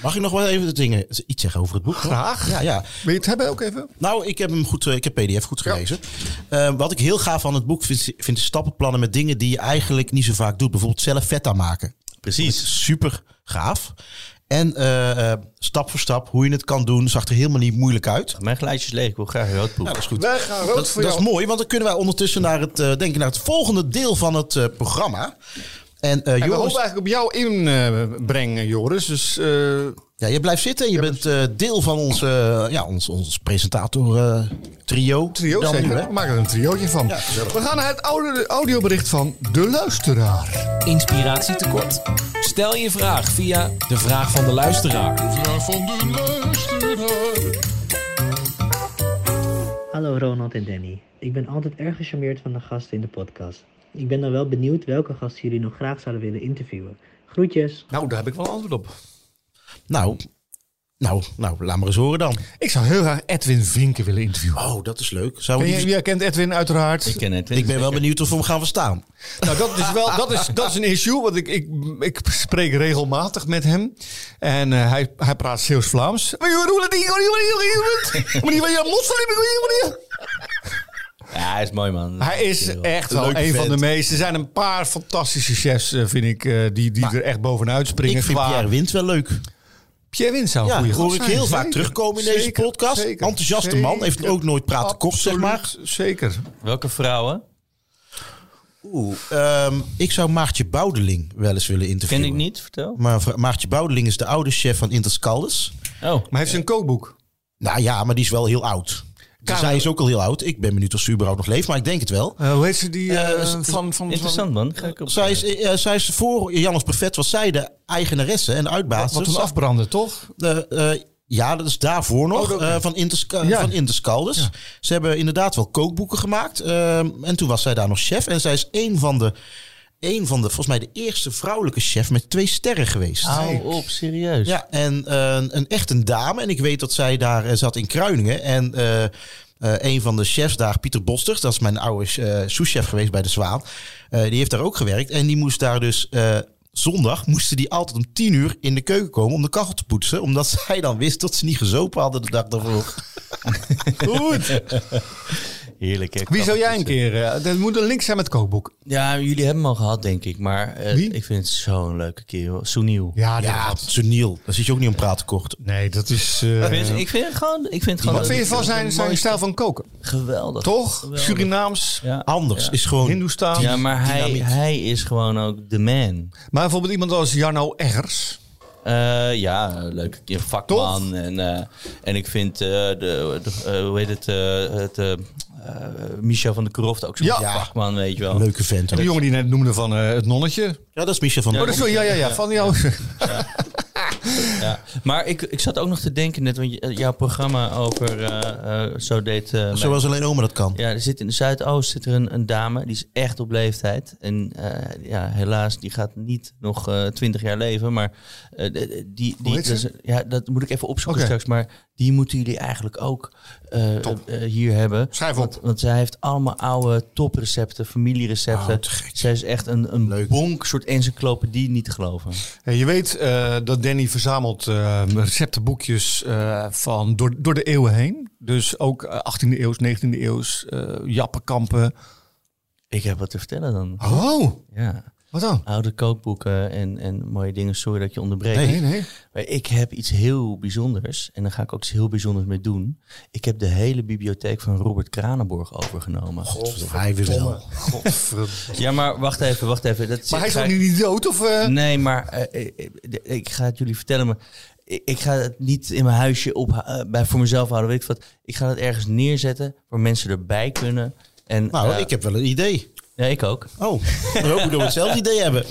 Mag ik nog wel even de dingen, iets zeggen over het boek? hoor? Graag. Ja, ja. Wil je het hebben ook even? Nou, ik heb hem goed, eh, ik heb PDF goed gelezen. Eh, wat ik heel gaaf van het boek vind, vind is stappenplannen met dingen die je eigenlijk niet zo vaak doet. Bijvoorbeeld zelf feta maken. Precies. Super gaaf. En eh, eh, stap voor stap, hoe je het kan doen, zag er helemaal niet moeilijk uit. Mijn geluidjes leeg, ik wil graag rood proeven. Nou, dat is goed. Wij gaan rood dat, voor dat jou. is mooi, want dan kunnen wij ondertussen naar het, eh, denk ik, naar het volgende deel van het eh, programma. En eh, En we hopen Joris, eigenlijk op jou inbrengen, Joris. Dus eh, ja, je blijft zitten. en Je bent eh, deel van ons, eh, ja, ons, ons presentator eh, trio. trio Dan nu, zeker. hè? We maken er een triootje van. Ja, gezellig. we gaan naar het oude, audiobericht van De Luisteraar. Inspiratie tekort. Stel je vraag via de vraag van de luisteraar. Hallo Ronald en Danny. Ik ben altijd erg gecharmeerd van de gasten in de podcast. Ik ben dan wel benieuwd welke gasten jullie nog graag zouden willen interviewen. Groetjes! Nou, daar heb ik wel antwoord op. Nou, nou, nou, laat maar eens horen dan. Ik zou heel graag Edwin Vinken willen interviewen. Oh, dat is leuk. Zou Ken die- jij- jij kent Edwin uiteraard. Ik ken het. ik ben wel benieuwd of we hem gaan verstaan. Nou, dat is wel dat is, dat is een issue, want ik, ik, ik spreek regelmatig met hem. En eh, hij, hij praat Zeeuws-Vlaams. Ja, hij is mooi man. Hij is echt wel Leuke een van de vent. meest. Er zijn een paar fantastische chefs, eh, vind ik, eh, die, die er echt bovenuit springen. ik vind qua- Pierre Wind wel leuk. Pierre Wint zou een Ja, goede hoor gast ik zijn, heel vaak zeker. terugkomen in deze Zeker, podcast. zeker, Enthousiaste zeker. man, heeft ook nooit praten kort, zeg maar. Absoluut, Zeker. Welke vrouwen? Oeh, ehm, ik zou Maartje Boudeling wel eens willen Ken interviewen. ik niet, vertel. Maar vra- Maartje Boudeling is de oude chef van Interscaldes. Oh, Maar heeft ze een Eh. kookboek? Nou ja, maar die is wel heel oud. Dus Karel- Zij is ook al heel oud. Ik ben benieuwd of ze überhaupt nog leeft, maar ik denk het wel. Eh, hoe heet ze die? eh, Eh, is- van, is- van, van, interessant man. Ga ik op. Zij is, eh, eh, zij is voor Jannes Buffet was zij de eigenaresse en de uitbaas. Wat een afbranden, toch? De, eh, ja, dat is daarvoor nog, eh, van, Intersca Oh, Ja. van Interscaldes. Ze hebben inderdaad wel kookboeken gemaakt. ehm, en toen was zij daar nog chef. En zij is een van de, een van de volgens mij de eerste vrouwelijke chef met twee sterren geweest. Hou op, serieus. Ja, en eh, een, echt een dame. En ik weet dat zij daar eh, zat in Kruiningen. En eh, eh, een van de chefs daar, Pieter Boster, dat is mijn oude eh souschef geweest bij de Zwaan. eh, die heeft daar ook gewerkt. En die moest daar dus. eh, Zondag moesten die altijd om tien uur in de keuken komen om de kachel te poetsen. Omdat zij dan wist dat ze niet gezopen hadden de dag daarvoor. Goed. Heerlijk. hè? Wie zou jij een keer... eh, dat moet een link zijn met kookboek. Ja, jullie hebben hem al gehad, denk ik. Maar eh, Wie? ik vind het zo'n leuke kerel. Sunil. Ja, Ja, seniel. Daar zit je ook niet om praten kort. Nee, dat is... eh, Ik vind, ik vind het gewoon... Ik vind het gewoon wat vind je van zijn, zijn stijl van koken? Geweldig. Toch? Geweldig. Surinaams, Ja. Anders is gewoon... Hindoestaans. Ja, maar hij, Dynamiek. hij is gewoon ook de man. Maar bijvoorbeeld iemand als Jarno Eggers. Eh, ja, een leuke keer vakman. En, eh, en ik vind, eh, de, de- eh, hoe heet het, eh, het eh, eh, Michel van der Kroft ook zo'n Ja. vakman, weet je wel. Een leuke vent. Die Ja, jongen die net noemde van eh, het nonnetje. dat is Michel van Oh, dat is wel- ja, ja, ja, van jou. Ja. Maar ik, ik zat ook nog te denken net, want j- jouw programma over eh, eh, Zo deed... eh, mijn- Zoals alleen oma dat kan. Ja, er zit in de Zuidoost zit er een, een dame, die is echt op leeftijd. En eh, ja, helaas, die gaat niet nog eh, twintig jaar leven. Maar eh, de- de- die, die, heet dat ze? is- ja, dat moet ik even opzoeken Oké. straks. Maar die moeten jullie eigenlijk ook eh, eh, hier hebben. Schrijf want, op. want zij heeft allemaal oude toprecepten, familierecepten. Oh, te gek. zij is echt een, een Leuk. bonk soort encyclopedie, niet te geloven. Hey, je weet eh, dat Danny verzamelt verzamelt eh, receptenboekjes eh, van door, door de eeuwen heen. Dus ook eh, 18e eeuws, 19e eeuws, eh, jappenkampen. Ik heb wat te vertellen dan. Oh, Ja. wat dan? Oude kookboeken en, en mooie dingen. Sorry dat ik je onderbreekt. Nee, nee. Maar ik heb iets heel bijzonders. En daar ga ik ook iets heel bijzonders mee doen. Ik heb de hele bibliotheek van Robert Kranenborg overgenomen. Hij weer wel. Ja, maar wacht even, wacht even. Dat Maar hij is ga toch ik- niet idioot? Of, eh? Nee, maar eh, eh, eh, de- ik ga het jullie vertellen, maar ik, ik ga het niet in mijn huisje op, eh, bij, voor mezelf houden. Weet ik wat. Ik ga het ergens neerzetten waar mensen erbij kunnen. En, Nou, eh, ik heb wel een idee. Ja, ik ook. Oh, dan hoop ik dat we hetzelfde idee hebben.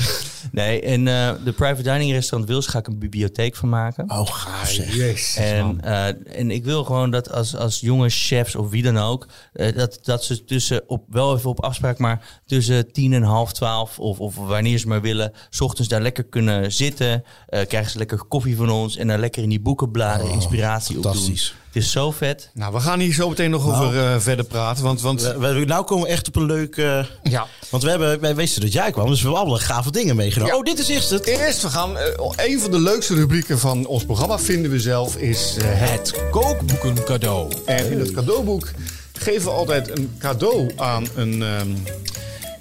Nee, en eh, de private dining restaurant Wils ga ik een bibliotheek van maken. Oh, gaaf zeg. Jezus. En, eh, en ik wil gewoon dat als, als jonge chefs of wie dan ook, eh, dat, dat ze tussen, op, wel even op afspraak, maar tussen tien en half twaalf of, of wanneer ze maar willen, s ochtends daar lekker kunnen zitten. eh, krijgen ze lekker koffie van ons en daar lekker in die boeken bladeren, Oh, inspiratie op doen. fantastisch. Het is zo vet. Nou, we gaan hier zo meteen nog over Nou. eh, verder praten. Want, want We, we- nou komen we echt op een leuk... eh, ja. want we hebben, wij wisten dat jij kwam, dus we hebben allemaal gave dingen meegenomen. Ja. Oh, dit is eerst het. Eerst, we gaan. eh, een van de leukste rubrieken van ons programma vinden we zelf is eh, Het kookboeken cadeau. En in het cadeauboek geven we altijd een cadeau aan, een, ehm,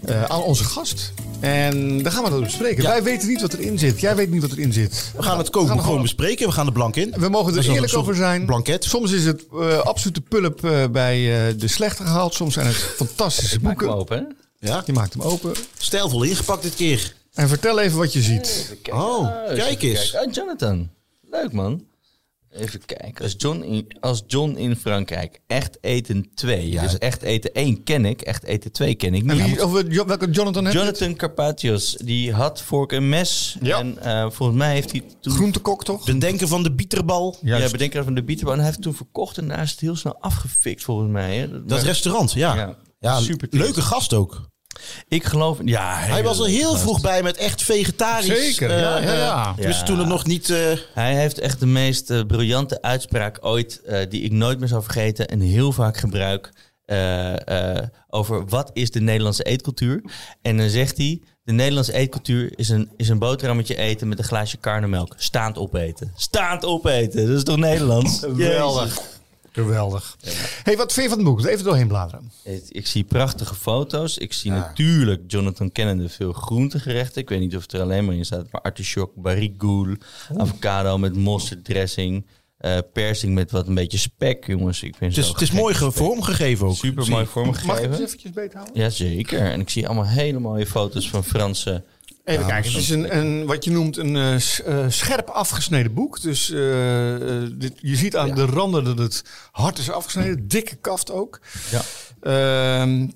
eh, aan onze gast. En daar gaan we dat bespreken. Wij weten niet wat erin zit. Jij weet niet wat erin zit. We gaan het koken We gaan gewoon gewoon- bespreken. We gaan er blank in. We mogen Dat is er dan eerlijk een soort over zijn. Blanket. Soms is het eh, absolute pulp eh, bij eh, de slechte gehaald. Soms zijn het fantastische Maak hem boeken. open. hè? Ja. Je maakt hem open. Stijlvol ingepakt dit keer. En vertel even wat je ziet. Oh, kijk even eens. kijken. Oh, Jonathan. Leuk man. Even kijken. Als John in, als John in Frankrijk. Echt eten 2. Dus echt eten 1 ken ik. Echt eten 2 ken ik En niet. wie, of we, Jo- welke Jonathan heeft? Jonathan Carpathios, die had vork en mes. Ja. En eh, volgens mij heeft hij toen... Groentekok, toch? Bedenken van de bieterbal. Ja, bedenker van de bieterbal. En hij heeft toen verkocht en daar is het heel snel afgefikt volgens mij. Hè? Dat Maar restaurant, ja. Ja. ja. Super tof. leuke gast ook. Ik geloof... Ja, Hij was er heel gast. vroeg bij met echt vegetarisch. Zeker, eh, ja, ja, ja. eh, tenminste, Ja. toen het nog niet... eh, Hij heeft echt de meest eh, briljante uitspraak ooit, eh, die ik nooit meer zal vergeten en heel vaak gebruik eh, eh, over wat is de Nederlandse eetcultuur. En dan zegt hij, de Nederlandse eetcultuur is een, is een boterhammetje eten met een glaasje karnemelk. Staand opeten. Staand opeten. Dat is toch Nederlands? Jezus. Geweldig. Geweldig. hey, wat vind je van het boek? Even doorheen bladeren. Ik, ik zie prachtige foto's. Ik zie natuurlijk Jonathan Kennende veel groentegerechten. Ik weet niet of het er alleen maar in staat, maar artichok, barigoul, avocado met mosterdressing, eh persing met wat een beetje spek, jongens. Ik vind Het is, zo het is gek. mooi ge- vormgegeven ook. Super mooi Mag ik het vormgegeven. eens eventjes beter houden? Jazeker. En ik zie allemaal hele mooie foto's van Franse. Even kijken, het is een, een, wat je noemt een eh, s- eh, scherp afgesneden boek. Dus eh, eh, dit, je ziet aan de randen dat het hard is afgesneden. Dikke kaft ook. Ja. Ehm,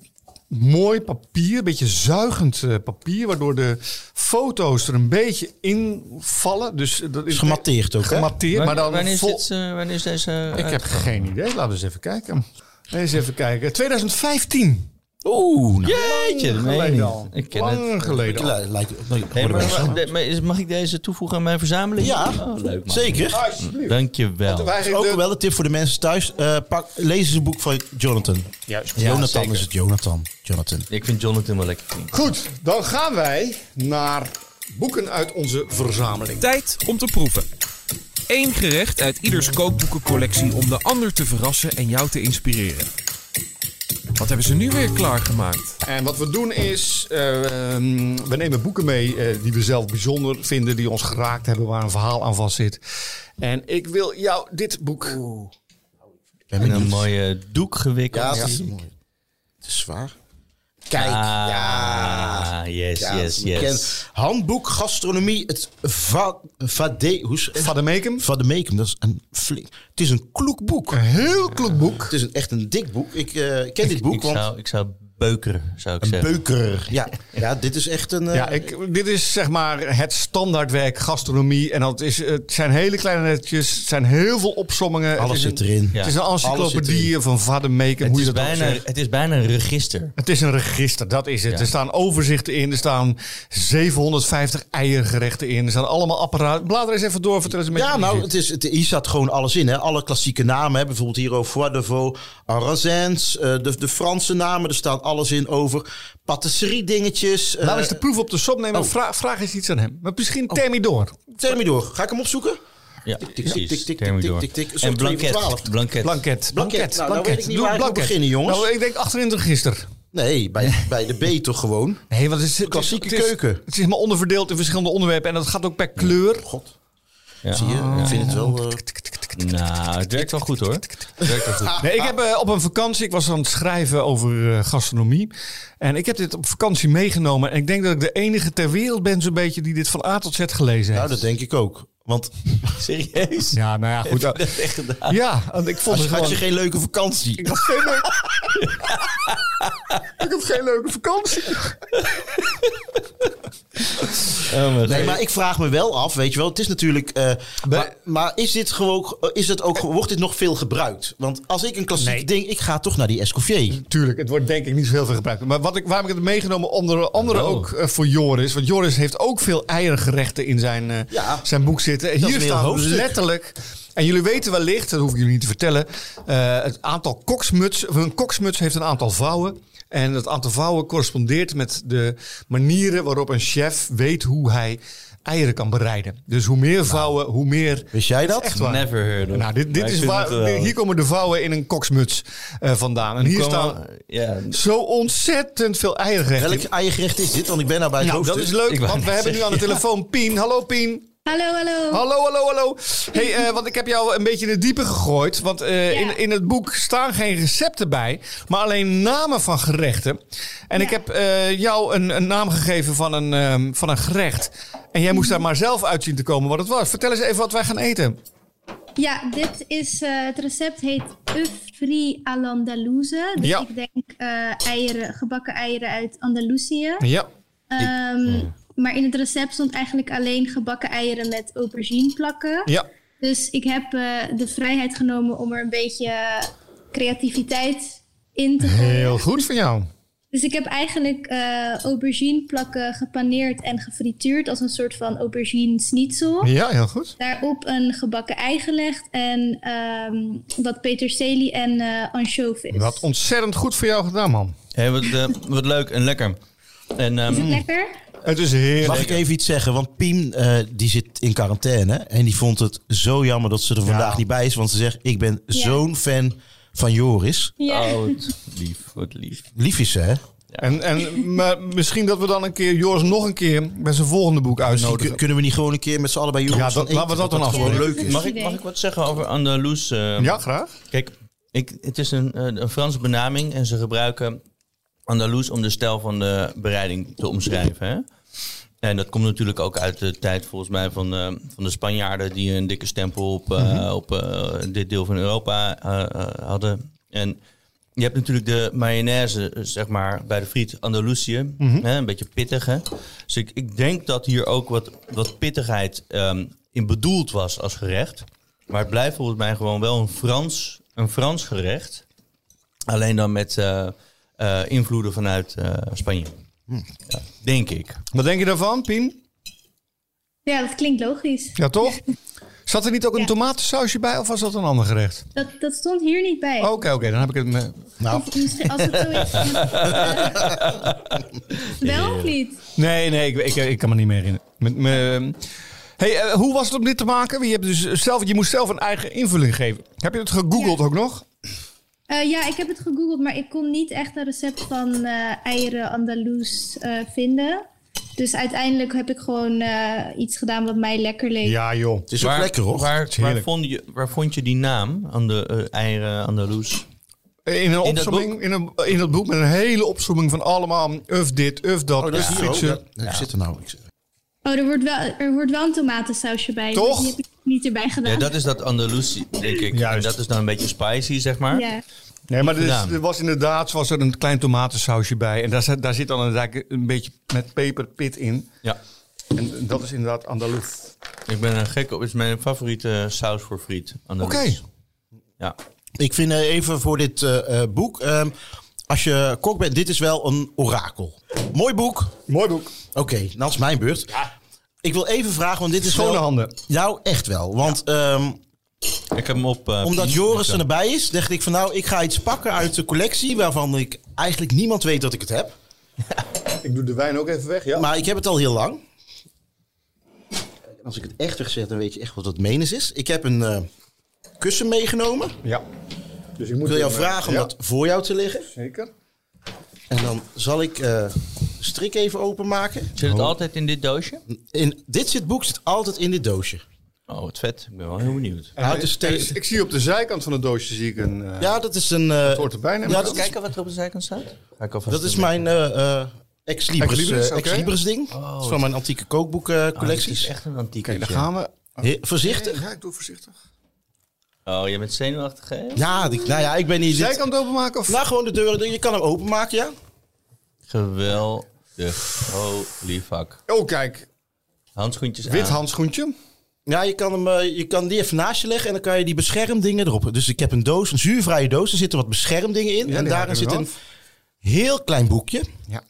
mooi papier, beetje zuigend eh, papier. Waardoor de foto's er een beetje in vallen. Dus, eh, dat Is gematteerd ook, hè? Gematteerd, maar dan wanneer, is vol- dit, eh, wanneer is deze... Ik heb geen idee, laten we eens even kijken. Eens even kijken. 2015. Oeh, jeetje. dat Lang meen je geleden niet. al. Ik ken Lang het. geleden al. Lijkt- lijkt- nou, Hey, maar- worden wij- maar- de- maar is- mag ik deze toevoegen aan mijn verzameling? Ja, Oh, leuk man. Ah, zeker. Alsjeblieft. Dankjewel. Wij Ook wel een tip voor de mensen thuis. eh, pak, lees eens een boek van Jonathan. Juist. Jonathan zeker. is het, Jonathan. Jonathan. Ik vind Jonathan wel lekker klinken. Goed, dan gaan wij naar boeken uit onze verzameling. Tijd om te proeven. Eén gerecht uit ieders kookboekencollectie om de ander te verrassen en jou te inspireren. Wat hebben ze nu weer klaargemaakt? En wat we doen is, eh, ehm, we nemen boeken mee eh, die we zelf bijzonder vinden, die ons geraakt hebben, waar een verhaal aan vast zit. En ik wil jou dit boek. Ben En een benieuwd. mooie doek gewikkeld. Ja, het is mooi. Het is zwaar. Ah, Kijk, yes, Ja, Ah, yes, dat is bekend. yes. Handboek gastronomie, het va, vade, hoe is- Vademekum. Vademecum, dat is een flink. Het is een kloek boek. Een heel kloek boek. Het is een, echt een dik boek. Ik eh, ik ken dit boek, Ik want zou, ik zou beukeren, zou ik een zeggen. beuker. Ja, ja, dit is echt een. eh, Ja, ik, dit is zeg maar het standaardwerk gastronomie. En dat is, het zijn hele kleine netjes, het zijn heel veel opsommingen. alles het is zit een, erin. Ja. Het is een Alles zit encyclopedie van Vademekum, Het hoe je is, dat ook bijna, zegt. het is bijna een register. Het is een register, dat is het. Ja. Er staan overzichten in, er staan 750 eiergerechten in. Er staan allemaal apparaten. Blader eens even door, vertel eens een beetje. Ja, wie nou, zit. het is, het, hier staat gewoon alles in. Hè. Alle klassieke namen. Hè. Bijvoorbeeld hier over Foie de Vaux, Arrazens, eh, de, de Franse namen. Er staat alles in over patisserie-dingetjes. eh, oh. Laat eens de proef op de som nemen. Vraag, vraag eens iets aan hem. Maar misschien Tammy door. Tel me door. Ga ik hem opzoeken? Ja, Tik, tik, tik, tik, tik, tik, tik, tik, tik. Zo En 2 voor blanket. 12. Blanket. Blanket. Blanket. Nou, nou weet ik niet Doe waar ik moet blanket. beginnen, jongens. Nou, ik denk 28 gisteren. Nee, bij, bij de B toch gewoon. Nee, want het is, Klassieke het is- keuken. Het is maar onderverdeeld in verschillende onderwerpen en dat gaat ook per kleur. God. Ja. Zie je, ik vind het wel... eh, Nou, het werkt wel goed hoor. Het werkt wel goed. Nee, ik heb eh, op een vakantie, ik was aan het schrijven over eh, gastronomie. En ik heb dit op vakantie meegenomen. En ik denk dat ik de enige ter wereld ben, zo'n beetje, die dit van A tot Z gelezen nou, heeft. dat denk ik ook. Want Serieus? Ja, nou ja, goed. eh, Echt gedaan. ja, want ik vond als het je, had je gewoon... geen leuke vakantie. Ik had geen leuke... ik had geen leuke vakantie. Nee, maar ik vraag me wel af, weet je wel. Het is natuurlijk... eh, maar, maar is dit gewoon... eh, Is het ook, wordt dit nog veel gebruikt? Want als ik een klassiek Nee. ding... Ik ga toch naar die Escoffier. Tuurlijk, het wordt denk ik niet zo heel veel gebruikt. Maar wat ik, waarom ik het meegenomen, onder andere Oh. ook eh, voor Joris. Want Joris heeft ook veel eiergerechten in zijn, eh, Ja. zijn boek zitten. is Hier een heel staan hoofdstuk. letterlijk... En jullie weten wellicht, dat hoef ik jullie niet te vertellen... eh, het aantal koksmuts... of Een koksmuts heeft een aantal vouwen. En het aantal vouwen correspondeert met de manieren waarop een chef weet hoe hij eieren kan bereiden. Dus hoe meer Nou. vouwen, hoe meer... Wist jij dat? Echt waar. Never heard of. Nou, dit, dit Maar ik is vind waar, het wel- eh, hier komen de vouwen in een koksmuts eh, vandaan. En hier Kwam staan... wel- Ja, Zo ontzettend veel eiergerechten. Welk eiergerecht is dit? Want ik ben daar bij het Nou, dat hoofdstuk. is Ik leuk, wou want we net hebben nu aan de telefoon Pien. Hallo Pien. Hallo, hallo. Hallo, hallo, hallo. hey, eh, want ik heb jou een beetje in het diepe gegooid. Want eh, Ja. in, in het boek staan geen recepten bij, maar alleen namen van gerechten. En ik heb eh, jou een, een naam gegeven van een, ehm, van een gerecht. En jij moest daar maar zelf uit zien te komen wat het was. Vertel eens even wat wij gaan eten. Ja, dit is, eh, het recept heet Ufri al Andalouse. Dus Ja. ik denk eh, eieren, gebakken eieren uit Andalusië. Ja. Ehm, Mm. Maar in het recept stond eigenlijk alleen gebakken eieren met aubergine plakken. Ja. Dus ik heb eh, de vrijheid genomen om er een beetje creativiteit in te gooien. Heel goed van jou. Dus ik heb eigenlijk eh, aubergine plakken gepaneerd en gefrituurd als een soort van aubergine schnitzel. Ja, heel goed. Daarop een gebakken ei gelegd en ehm, wat peterselie en eh anchovies. Wat ontzettend goed voor jou gedaan, man. Hé, wat, eh, wat leuk en lekker. En ehm, Is het lekker? Het is heerlijk. Mag ik even iets zeggen? Want Piem eh, die zit in quarantaine. En die vond het zo jammer dat ze er vandaag niet bij is. Want ze zegt, ik ben Ja. zo'n fan van Joris. Ja. oh, wat lief, wat lief. Lief is ze, hè? En, en maar misschien dat we dan een keer Joris nog een keer bij zijn volgende boek Kun- uitnodigen. kunnen we niet gewoon een keer met z'n allen bij Joris Ja, dat- gaan eten? laten we dat dan Oh, afspreken. gewoon leuk is. Mag ik, idee. mag ik wat zeggen over Andalus? eh, Ja, graag. Kijk, ik, het is een, eh, een Franse benaming en ze gebruiken Andalus om de stijl van de bereiding te omschrijven. Hè? En dat komt natuurlijk ook uit de tijd volgens mij van, eh, van de Spanjaarden die een dikke stempel op, eh, op eh, dit deel van Europa eh, eh, hadden. En je hebt natuurlijk de mayonaise, eh, zeg maar, bij de friet Andalusië. hè, een beetje pittig, hè? Dus ik, ik denk dat hier ook wat, wat pittigheid ehm, in bedoeld was als gerecht. Maar het blijft volgens mij gewoon wel een Frans, een Frans gerecht. Alleen dan met eh, eh, invloeden vanuit eh, Spanje. Ja, denk ik. Wat denk je daarvan, Pien? ja, dat klinkt logisch. Ja, toch? Zat er niet ook een Ja. tomatensausje bij of was dat een ander gerecht? Dat, dat stond hier niet bij. Oké, oké, dan heb ik het. me- Nou, Of misschien als het zo is. eh, wel of niet? Nee, nee, ik, ik, ik kan me niet meer herinneren. Met, me... hey, eh, hoe was het om dit te maken? Je, hebt dus zelf, je moest zelf een eigen invulling geven. Heb je het gegoogeld Ja. ook nog? Eh, ja, ik heb het gegoogeld, maar ik kon niet echt een recept van eh, eieren Andaloes eh, vinden. Dus uiteindelijk heb ik gewoon eh, iets gedaan wat mij lekker leek. Ja, joh. het is ook lekker, hoor. Waar, is waar, heerlijk. vond je, waar vond je die naam? Aan de eh, eieren Andalus? In een In dat opzomming, in, een, in dat boek met een hele opzomming van allemaal uf dit, uf dat, Oh, dat is uf hier ook. fietsen. Ja, Ik zit er nou. Ik zit- Oh, er wordt wel, er wordt wel een tomatensausje bij. maar Toch? Die heb ik niet erbij gedaan. Ja, dat is dat Andalusie, denk ik. Juist. En dat is dan een beetje spicy, zeg maar. Ja. Nee, maar er, is- gedaan. er was inderdaad was er een klein tomatensausje bij. En daar, zit- daar zit dan inderdaad een beetje met peperpit in. ja. En dat is inderdaad Andalus. Ik ben een gek op. Het is mijn favoriete saus voor friet. Oké. Oké. Ja. Ik vind eh, even voor dit eh, eh, boek... ehm, als je kok bent, dit is wel een orakel. Mooi boek. Mooi boek. Oké, nou is mijn beurt. Ik wil even vragen, want dit is Schone wel... handen. Nou, echt wel. Want ehm, Ik heb hem op. eh, Omdat Piet. Joris er erbij is, dacht ik van nou, ik ga iets pakken uit de collectie waarvan ik eigenlijk niemand weet dat ik het heb. Ik doe de wijn ook even weg, ja. Maar ik heb het al heel lang. Als ik het echt zeg, dan weet je echt wat dat menens is. Ik heb een eh, kussen meegenomen. Ja. Dus ik moet Ik wil jou hem, vragen om ja, dat voor jou te leggen. Zeker. En dan zal ik eh, de strik even openmaken. Oh. Zit het altijd in dit doosje? In dit zit boek zit altijd in dit doosje. Oh, wat vet. Ik ben wel heel benieuwd. Nou, het is En ik, steeds- Dus ik zie op de zijkant van het doosje zie ik een... eh, Ja, dat is een. eh, hoort erbij, neem ik ja, aan. dat is, Kijken wat er op de zijkant staat. Ga ik alvast dat is doen. mijn eh, eh, ex libris, Ex Libris, eh, ex oké. Oh, Ah, libris ding. Dat is van mijn antieke kookboekcollecties. Het Oh, is echt een Oké, antieke. daar gaan we. Voorzichtig. Ja, eh, ik doe voorzichtig. Oh, je bent zenuwachtig, hè? Ja, die- nou ja, ik ben niet. Dit, Zijkant openmaken of... nou, gewoon de deuren. Je kan hem openmaken, ja. Geweldig. Holy fuck. Oh, kijk. Handschoentjes aan. Wit handschoentje. Nou- Ja, je kan, hem, eh, je kan die even naast je leggen en dan kan je die beschermdingen erop. Dus ik heb een doos, een zuurvrije doos. Er zitten wat beschermdingen in. Ja, en die haken daarin we zit een af. heel klein boekje. Ja.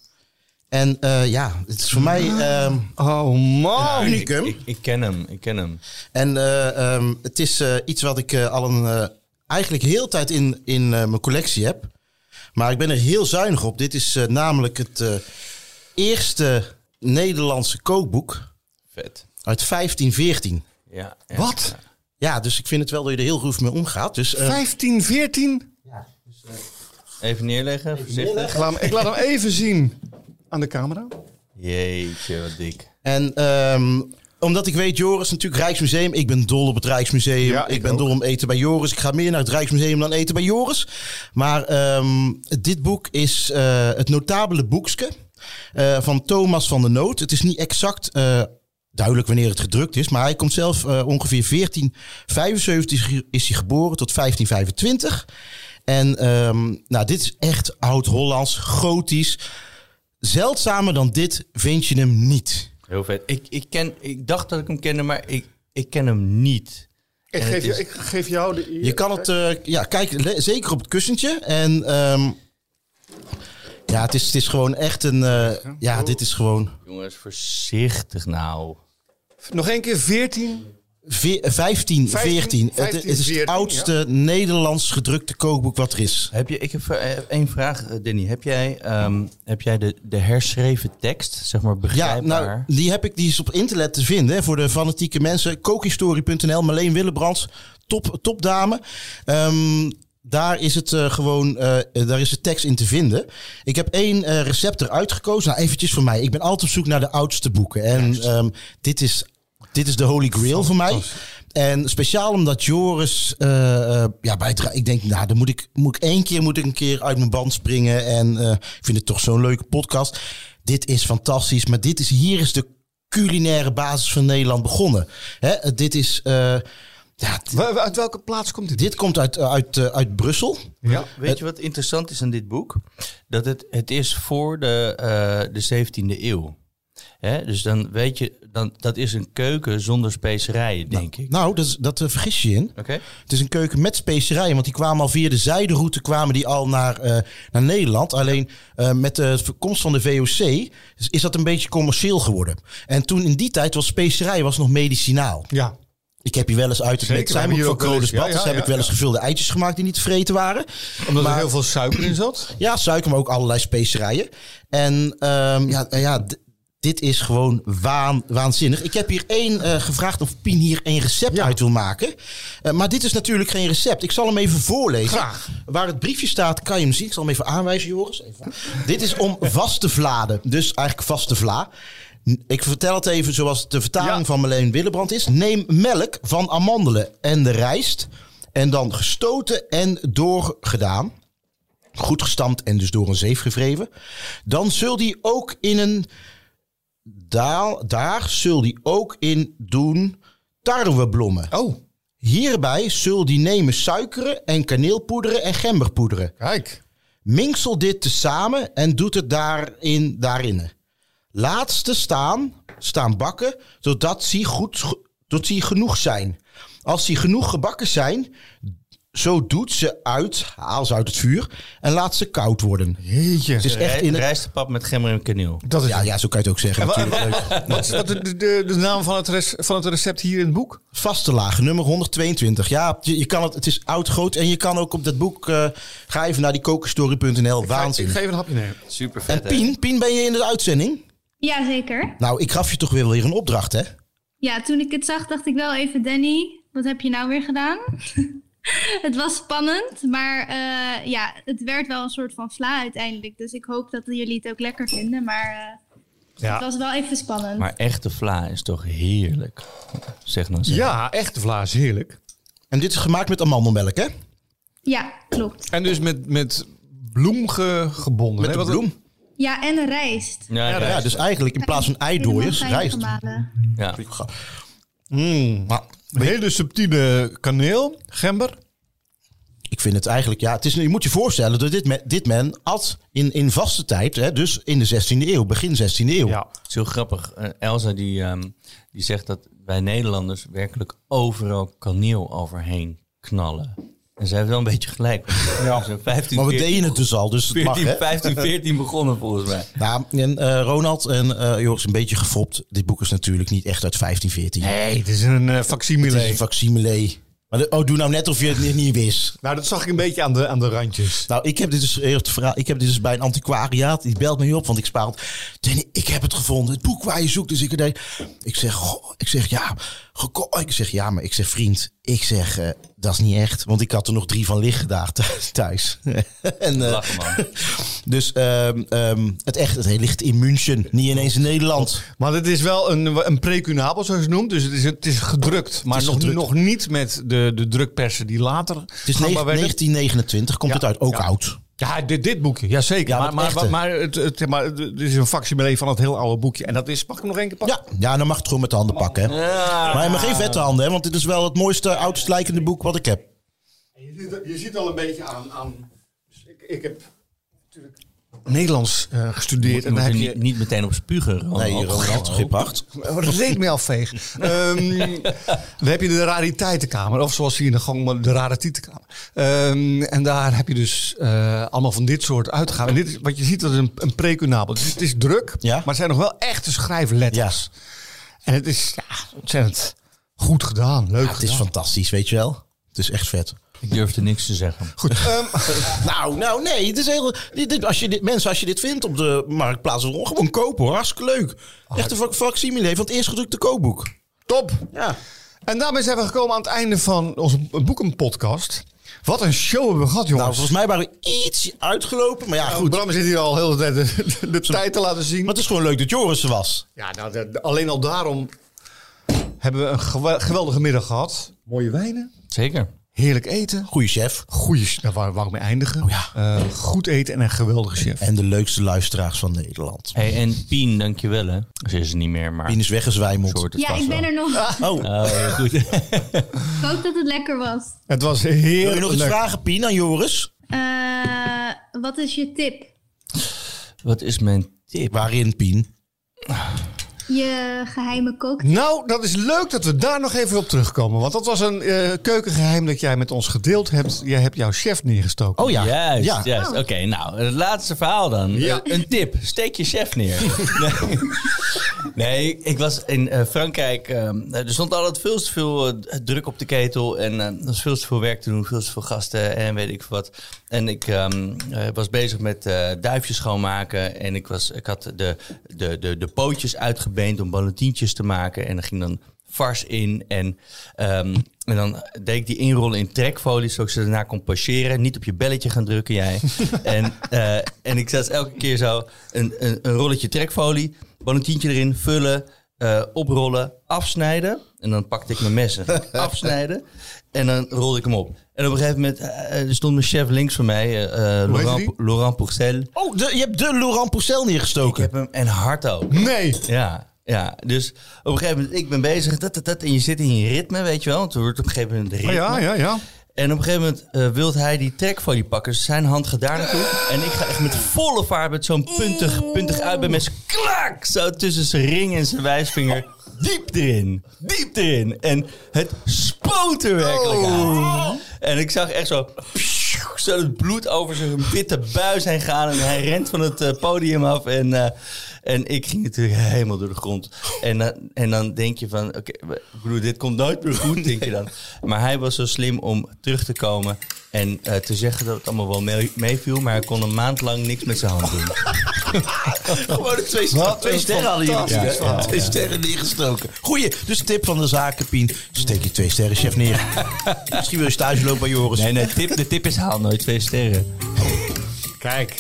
En eh, ja, het is voor mij ehm, Oh, man. een unicum. Ah, Ik, ik ken hem, ik ken hem. En eh, ehm, het is eh, iets wat ik eh, al een, eh, eigenlijk heel de tijd in, in eh, mijn collectie heb. Maar ik ben er heel zuinig op. Dit is eh, namelijk het eh, eerste Nederlandse kookboek Vet. uit 1514. Ja, ja. Wat? Ja, dus ik vind het wel dat je er heel groef mee omgaat. Dus, eh, 15, 14? Even neerleggen, voorzichtig. Ik laat, hem, ik laat hem even zien aan de camera. Jeetje, wat dik. En ehm, omdat ik weet, Joris, natuurlijk Rijksmuseum. Ik ben dol op het Rijksmuseum. Ja, ik, ik ben ook. dol om eten bij Joris. Ik ga meer naar het Rijksmuseum dan eten bij Joris. Maar ehm, dit boek is eh, het notabele boekske eh, van Thomas van der Noot. Het is niet exact eh, duidelijk wanneer het gedrukt is. Maar hij komt zelf eh, ongeveer 1475 is hij geboren tot 1525. En ehm, nou, dit is echt oud-Hollands, gotisch. Zeldzamer dan dit vind je hem niet. Heel vet. Ik, ik, ken, ik dacht dat ik hem kende, maar ik, ik ken hem niet. Ik het geef, je- is- ik geef jou de... Je kan het, eh, ja, kijk le- zeker op het kussentje. En ehm, ja, het is, het is gewoon echt een, eh, ja, dit is gewoon Jongens, voorzichtig nou. Nog één keer 14. ve- eh, 15, 14. 15, Het, het is het 14, oudste Nederlands gedrukte kookboek wat er is. Heb je, ik heb eh, één vraag, eh, Danny. Heb jij, ehm, heb jij de, de herschreven tekst, zeg maar, Ja, begrijpbaar? nou, die heb ik, die is op internet te vinden hè, voor de fanatieke mensen. Kookhistorie.nl, Marleen Willebrands, top, topdame. Ehm, daar is het eh, gewoon, eh, daar is de tekst in te vinden. Ik heb één eh, recept eruit gekozen. Nou, eventjes voor mij. Ik ben altijd op zoek naar de oudste boeken. En ehm, dit, is, dit is de holy grail voor mij. En speciaal omdat Joris, eh, eh, ja, bij het, ra- ik denk, nou, dan moet ik, moet ik één keer moet ik een keer uit mijn band springen. En eh, ik vind het toch zo'n leuke podcast. Dit is fantastisch, maar dit is, hier is de culinaire basis van Nederland begonnen. Hè? Dit is, eh, ja, d- Wa- wa- Uit welke plaats komt dit? dit komt uit, uit, eh, uit Brussel. Ja. Weet je wat interessant is aan dit boek? Dat het, het is voor de, eh, de 17e eeuw. Hè? Dus dan weet je, dan, dat is een keuken zonder specerijen, denk ik. Nou, dat, is- dat eh, vergis je je in. Oké? Het is een keuken met specerijen, want die kwamen al via de zijderoute kwamen die al naar, eh, naar Nederland. Alleen eh, met de komst van de VOC is, is dat een beetje commercieel geworden. En toen in die tijd was specerij was nog medicinaal. Ja. Ik heb hier wel eens uit het Zeker, met we hebben zijn hier van ook wel eens- Cronus Batters ja, ja, heb ja, ik wel eens ja. gevulde eitjes gemaakt die niet te vreten waren. Omdat Maar- er heel veel suiker in zat. Ja, suiker, maar ook allerlei specerijen. En ehm, ja, nou ja, d- dit is gewoon waan, waanzinnig. Ik heb hier één eh, gevraagd of Pien hier een recept uit wil maken. Eh, maar dit is natuurlijk geen recept. Ik zal hem even voorlezen. Graag. Waar het briefje staat, kan je hem zien. Ik zal hem even aanwijzen, Joris. Even aan. dit is om vaste vladen. Dus eigenlijk vaste vla. N- Ik vertel het even zoals de vertaling Ja. van Marleen Willebrand is. Neem melk van amandelen en de rijst. En dan gestoten en doorgedaan goed gestampt en dus door een zeef gevreven. Dan zul die ook in een. Daar, daar zul die ook in doen tarweblommen. Oh, Hierbij zul die nemen suikeren en kaneelpoederen en gemberpoederen. kijk. Minksel dit tezamen en doet het daarin, daarin. Laatste staan, staan bakken, zodat ze goed, tot ze genoeg zijn. Als ze genoeg gebakken zijn, zo doet ze uit, haal ze uit het vuur en laat ze koud worden. Het Jeetje. is echt in het... Rijstepap met gemmer en kaneel. Dat is Ja, ja, zo kan je het ook zeggen. Natuurlijk, leuk. Wat is wat de, de- de, de naam van het, res- van het recept hier in het boek? Vaste laag, nummer 122. Ja, je, je kan het, het is oud, groot. En je kan ook op dat boek, eh, ga even naar die kokenstory.nl. Ik Waanzin. geef een hapje nemen. Super vet. En Pien, Pien, ben je in de uitzending? Ja, zeker. Nou, ik gaf je toch weer, weer een opdracht, hè? Ja, toen ik het zag, dacht ik wel even: Danny, wat heb je nou weer gedaan? het was spannend, maar eh, ja, het werd wel een soort van vla uiteindelijk. Dus ik hoop dat jullie het ook lekker vinden. Maar eh, het Ja, was wel even spannend. Maar echte vla is toch heerlijk? Zeg nou zeg. ja echte vlaas, heerlijk. En dit is gemaakt met amandelmelk, hè? Ja, klopt. En dus met, met bloem ge- gebonden. Met hè? de Wat- bloem. Ja, en rijst. Ja, ja, Ja, dus eigenlijk in plaats van eidooiers, Helemaal fijn rijst. gemalen. ja. Mm, nou, een hele subtiele kaneel, gember. Ik vind het eigenlijk, ja, het is, je moet je voorstellen dat dit, me- dit men at in, in vaste tijd, hè, dus in de 16e eeuw, begin 16e eeuw. Ja. Zo grappig. Eh, Elsa die, ehm, die zegt dat wij Nederlanders werkelijk overal kaneel overheen knallen. En zij heeft wel een beetje gelijk. Ja. zijn 15, Maar we 14, deden het dus al, dus het mag, 14, hè? 15, 14 begonnen volgens mij. Nou, en eh, Ronald en eh Joris, een beetje gefopt. Dit boek is natuurlijk niet echt uit 1514. Nee, het is een uh, Het is facsimile. een facsimile. Maar de- oh, doe nou net of je het niet- niet wist. Nou, dat zag ik een beetje aan de, aan de randjes. Nou, ik heb dit dus eerst verhaal. Ik heb dit dus bij een antiquariaat. Die belt me op, want ik spaal. Danny, ik heb het gevonden. Het boek waar je zoekt. Dus ik deed. Ik zeg, goh, ik zeg ja. geko- Ik zeg ja, maar ik zeg vriend. Ik zeg eh, dat is niet echt, want ik had er nog drie van liggen daar thuis- thuis. en eh, Lachen man. dus ehm, ehm, het echt, het ligt in München, niet ineens in Nederland. Maar het is wel een, een precunabel, zoals je het noemt. Dus het is, het is gedrukt. Maar is nog, gedrukt. nog niet met de, de drukpersen die later Het is gangbaar negen- werden. 1929 komt Ja, het uit, ook ja. oud. Ja, dit, dit boekje. Jazeker. Ja, maar, maar maar, het maar, echte. maar het, het, maar het- het is een facsimile van het heel oude boekje. En dat is... Mag ik hem nog één keer pakken? Ja, ja, dan mag het gewoon met de handen pakken. Hè. Maar je mag geen vette handen, hè, want dit is wel het mooiste, oudst lijkende boek wat ik heb. Je ziet, al een beetje aan... Dus ik, heb Nederlands eh, gestudeerd. en Moet dan je heb niet, je... niet meteen op spugen. Ronald. Nee, Ronald, grip hard. Reed mee afveeg. Ehm, dan heb je de rariteitenkamer. Of zoals hier in de gang, maar de rariteitenkamer. Ehm en daar heb je dus eh, allemaal van dit soort uitgaven. En dit is, wat je ziet, dat is een, een precunabel. Dus het is druk, Ja. maar het zijn nog wel echte schrijfletters. En het is ja, ontzettend goed gedaan. Leuk Het is gedaan. fantastisch, weet je wel. Het is echt vet. Ik durfde niks te zeggen. Ehm. Nou, nou nee, het is heel, dit, dit- als je dit, mensen, als je dit vindt op de marktplaats, gewoon kopen hoor. Hartstikke leuk. Echt een fac- facsimile van het eerstgedrukte kookboek. Top. Ja. En daarmee zijn we gekomen aan het einde van onze boekenpodcast. Wat een show hebben we gehad, Nou, jongens. volgens mij waren we iets uitgelopen, maar ja, Nou, goed. Bram zit hier al heel de tijd de, de tijd te laten zien. Maar het is gewoon leuk dat Joris er was. Ja, nou, de- de- alleen al daarom hebben we een gewa- geweldige middag gehad. Mooie wijnen. Zeker. Heerlijk eten. Goeie chef. Goeie, s- daar wou, wou ik mee eindigen. ja. Eh, goed eten en een geweldige chef. En de leukste luisteraars van Nederland. Hey, en Pien, dankjewel hè. Ze is er niet meer, maar... Pien is weggezwijmeld. ze hoort het Ja, vast ik ben wel. er nog. Oh, Oh, heel goed. Ik hoop dat het lekker was. Het was wil je nog iets heerlijk. vragen, Pien, aan Joris? Eh, wat is je tip? Wat is mijn tip? Waarin, Pien? Je geheime kook. Nou, dat is leuk dat we daar nog even op terugkomen. Want dat was een eh, keukengeheim dat jij met ons gedeeld hebt. Jij hebt jouw chef neergestoken. Oh ja. Juist, ja. juist. Oké, nou, het laatste verhaal dan. Ja. Eh, Een tip, steek je chef neer. nee. Nee, ik was in eh, Frankrijk. ehm, er stond altijd veel te veel eh, druk op de ketel. En eh, er was veel te veel werk te doen, veel te veel gasten en weet ik wat. En ik ehm, eh, was bezig met eh, duifjes schoonmaken. En ik, was, ik had de, de, de, de pootjes uitgebeend om balletientjes te maken. En dan ging dan vars in. En, ehm, en dan deed ik die inrollen in trekfolie, zodat ik ze daarna kon passeren. Niet op je belletje gaan drukken, jij. en, eh, en ik zat elke keer zo een, een, een rolletje trekfolie, ballontientje erin, vullen, eh, oprollen, afsnijden. En dan pakte ik mijn mes en ging ik afsnijden. En dan rolde ik hem op. En op een gegeven moment eh, er stond mijn chef links van mij, eh, eh, heette Laurent, die? Laurent Pourcel. Oh, de, je hebt de Laurent Poussel Ik neergestoken. heb hem en hard ook. Oh. Nee. Ja, ja. Dus op een gegeven moment, ik ben bezig, dat, dat, dat, en je zit in je ritme, weet je wel. Want het wordt op een gegeven moment ritme. Oh, ja, ja, ja. En op een gegeven moment eh wil hij die trek van die pakken. Dus Zijn hand gaat daar naartoe. En ik ga echt met volle vaart met zo'n puntig, puntig uit bij mensen. Klak! Zo tussen zijn ring en zijn wijsvinger. Diep erin. Diep erin. En het spoot er werkelijk uit. En ik zag echt zo... Zo het bloed over zijn witte buis heen gaan. En hij rent van het eh, podium af. En, eh, en ik ging natuurlijk helemaal door de grond. En, dan- en dan denk je van... Oké, ik bedoel, dit komt nooit meer goed, denk je dan. Maar hij was zo slim om terug te komen. En eh, te zeggen dat het allemaal wel mee- meeviel. Maar hij kon een maand lang niks met zijn hand doen. Gewoon de twee, Wat twee een sterren hadden jullie. fantastisch natuurlijk, hè? verhaal. Twee sterren neergestoken. Goeie, dus tip van de zaken, Pien. Steek je twee sterren chef neer. Misschien wil je stage lopen bij Joris. Nee, nee, tip, de tip is haal nooit twee sterren. Kijk.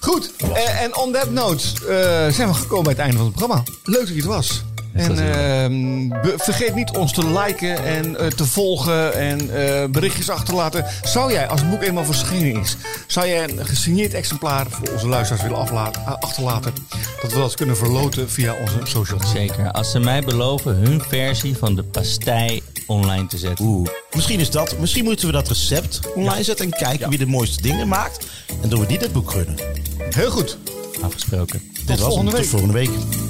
Goed, eh, en on that note eh, zijn we gekomen bij het einde van het programma. Leuk dat je het was. En ehm, be- vergeet niet ons te liken en eh, te volgen en eh, berichtjes achter te laten. Zou jij, als het boek eenmaal verschenen is, zou jij een gesigneerd exemplaar voor onze luisteraars willen aflaten, eh, achterlaten? Dat we dat kunnen verloten via onze social media. Zeker. Als ze mij beloven hun versie van de pastei online te zetten. Oeh. Misschien is dat. Misschien moeten we dat recept online zetten en kijken wie de mooiste dingen maakt. En doen we die dat boek gunnen. Heel goed. Afgesproken. Dit was volgende hem. Tot week. volgende week.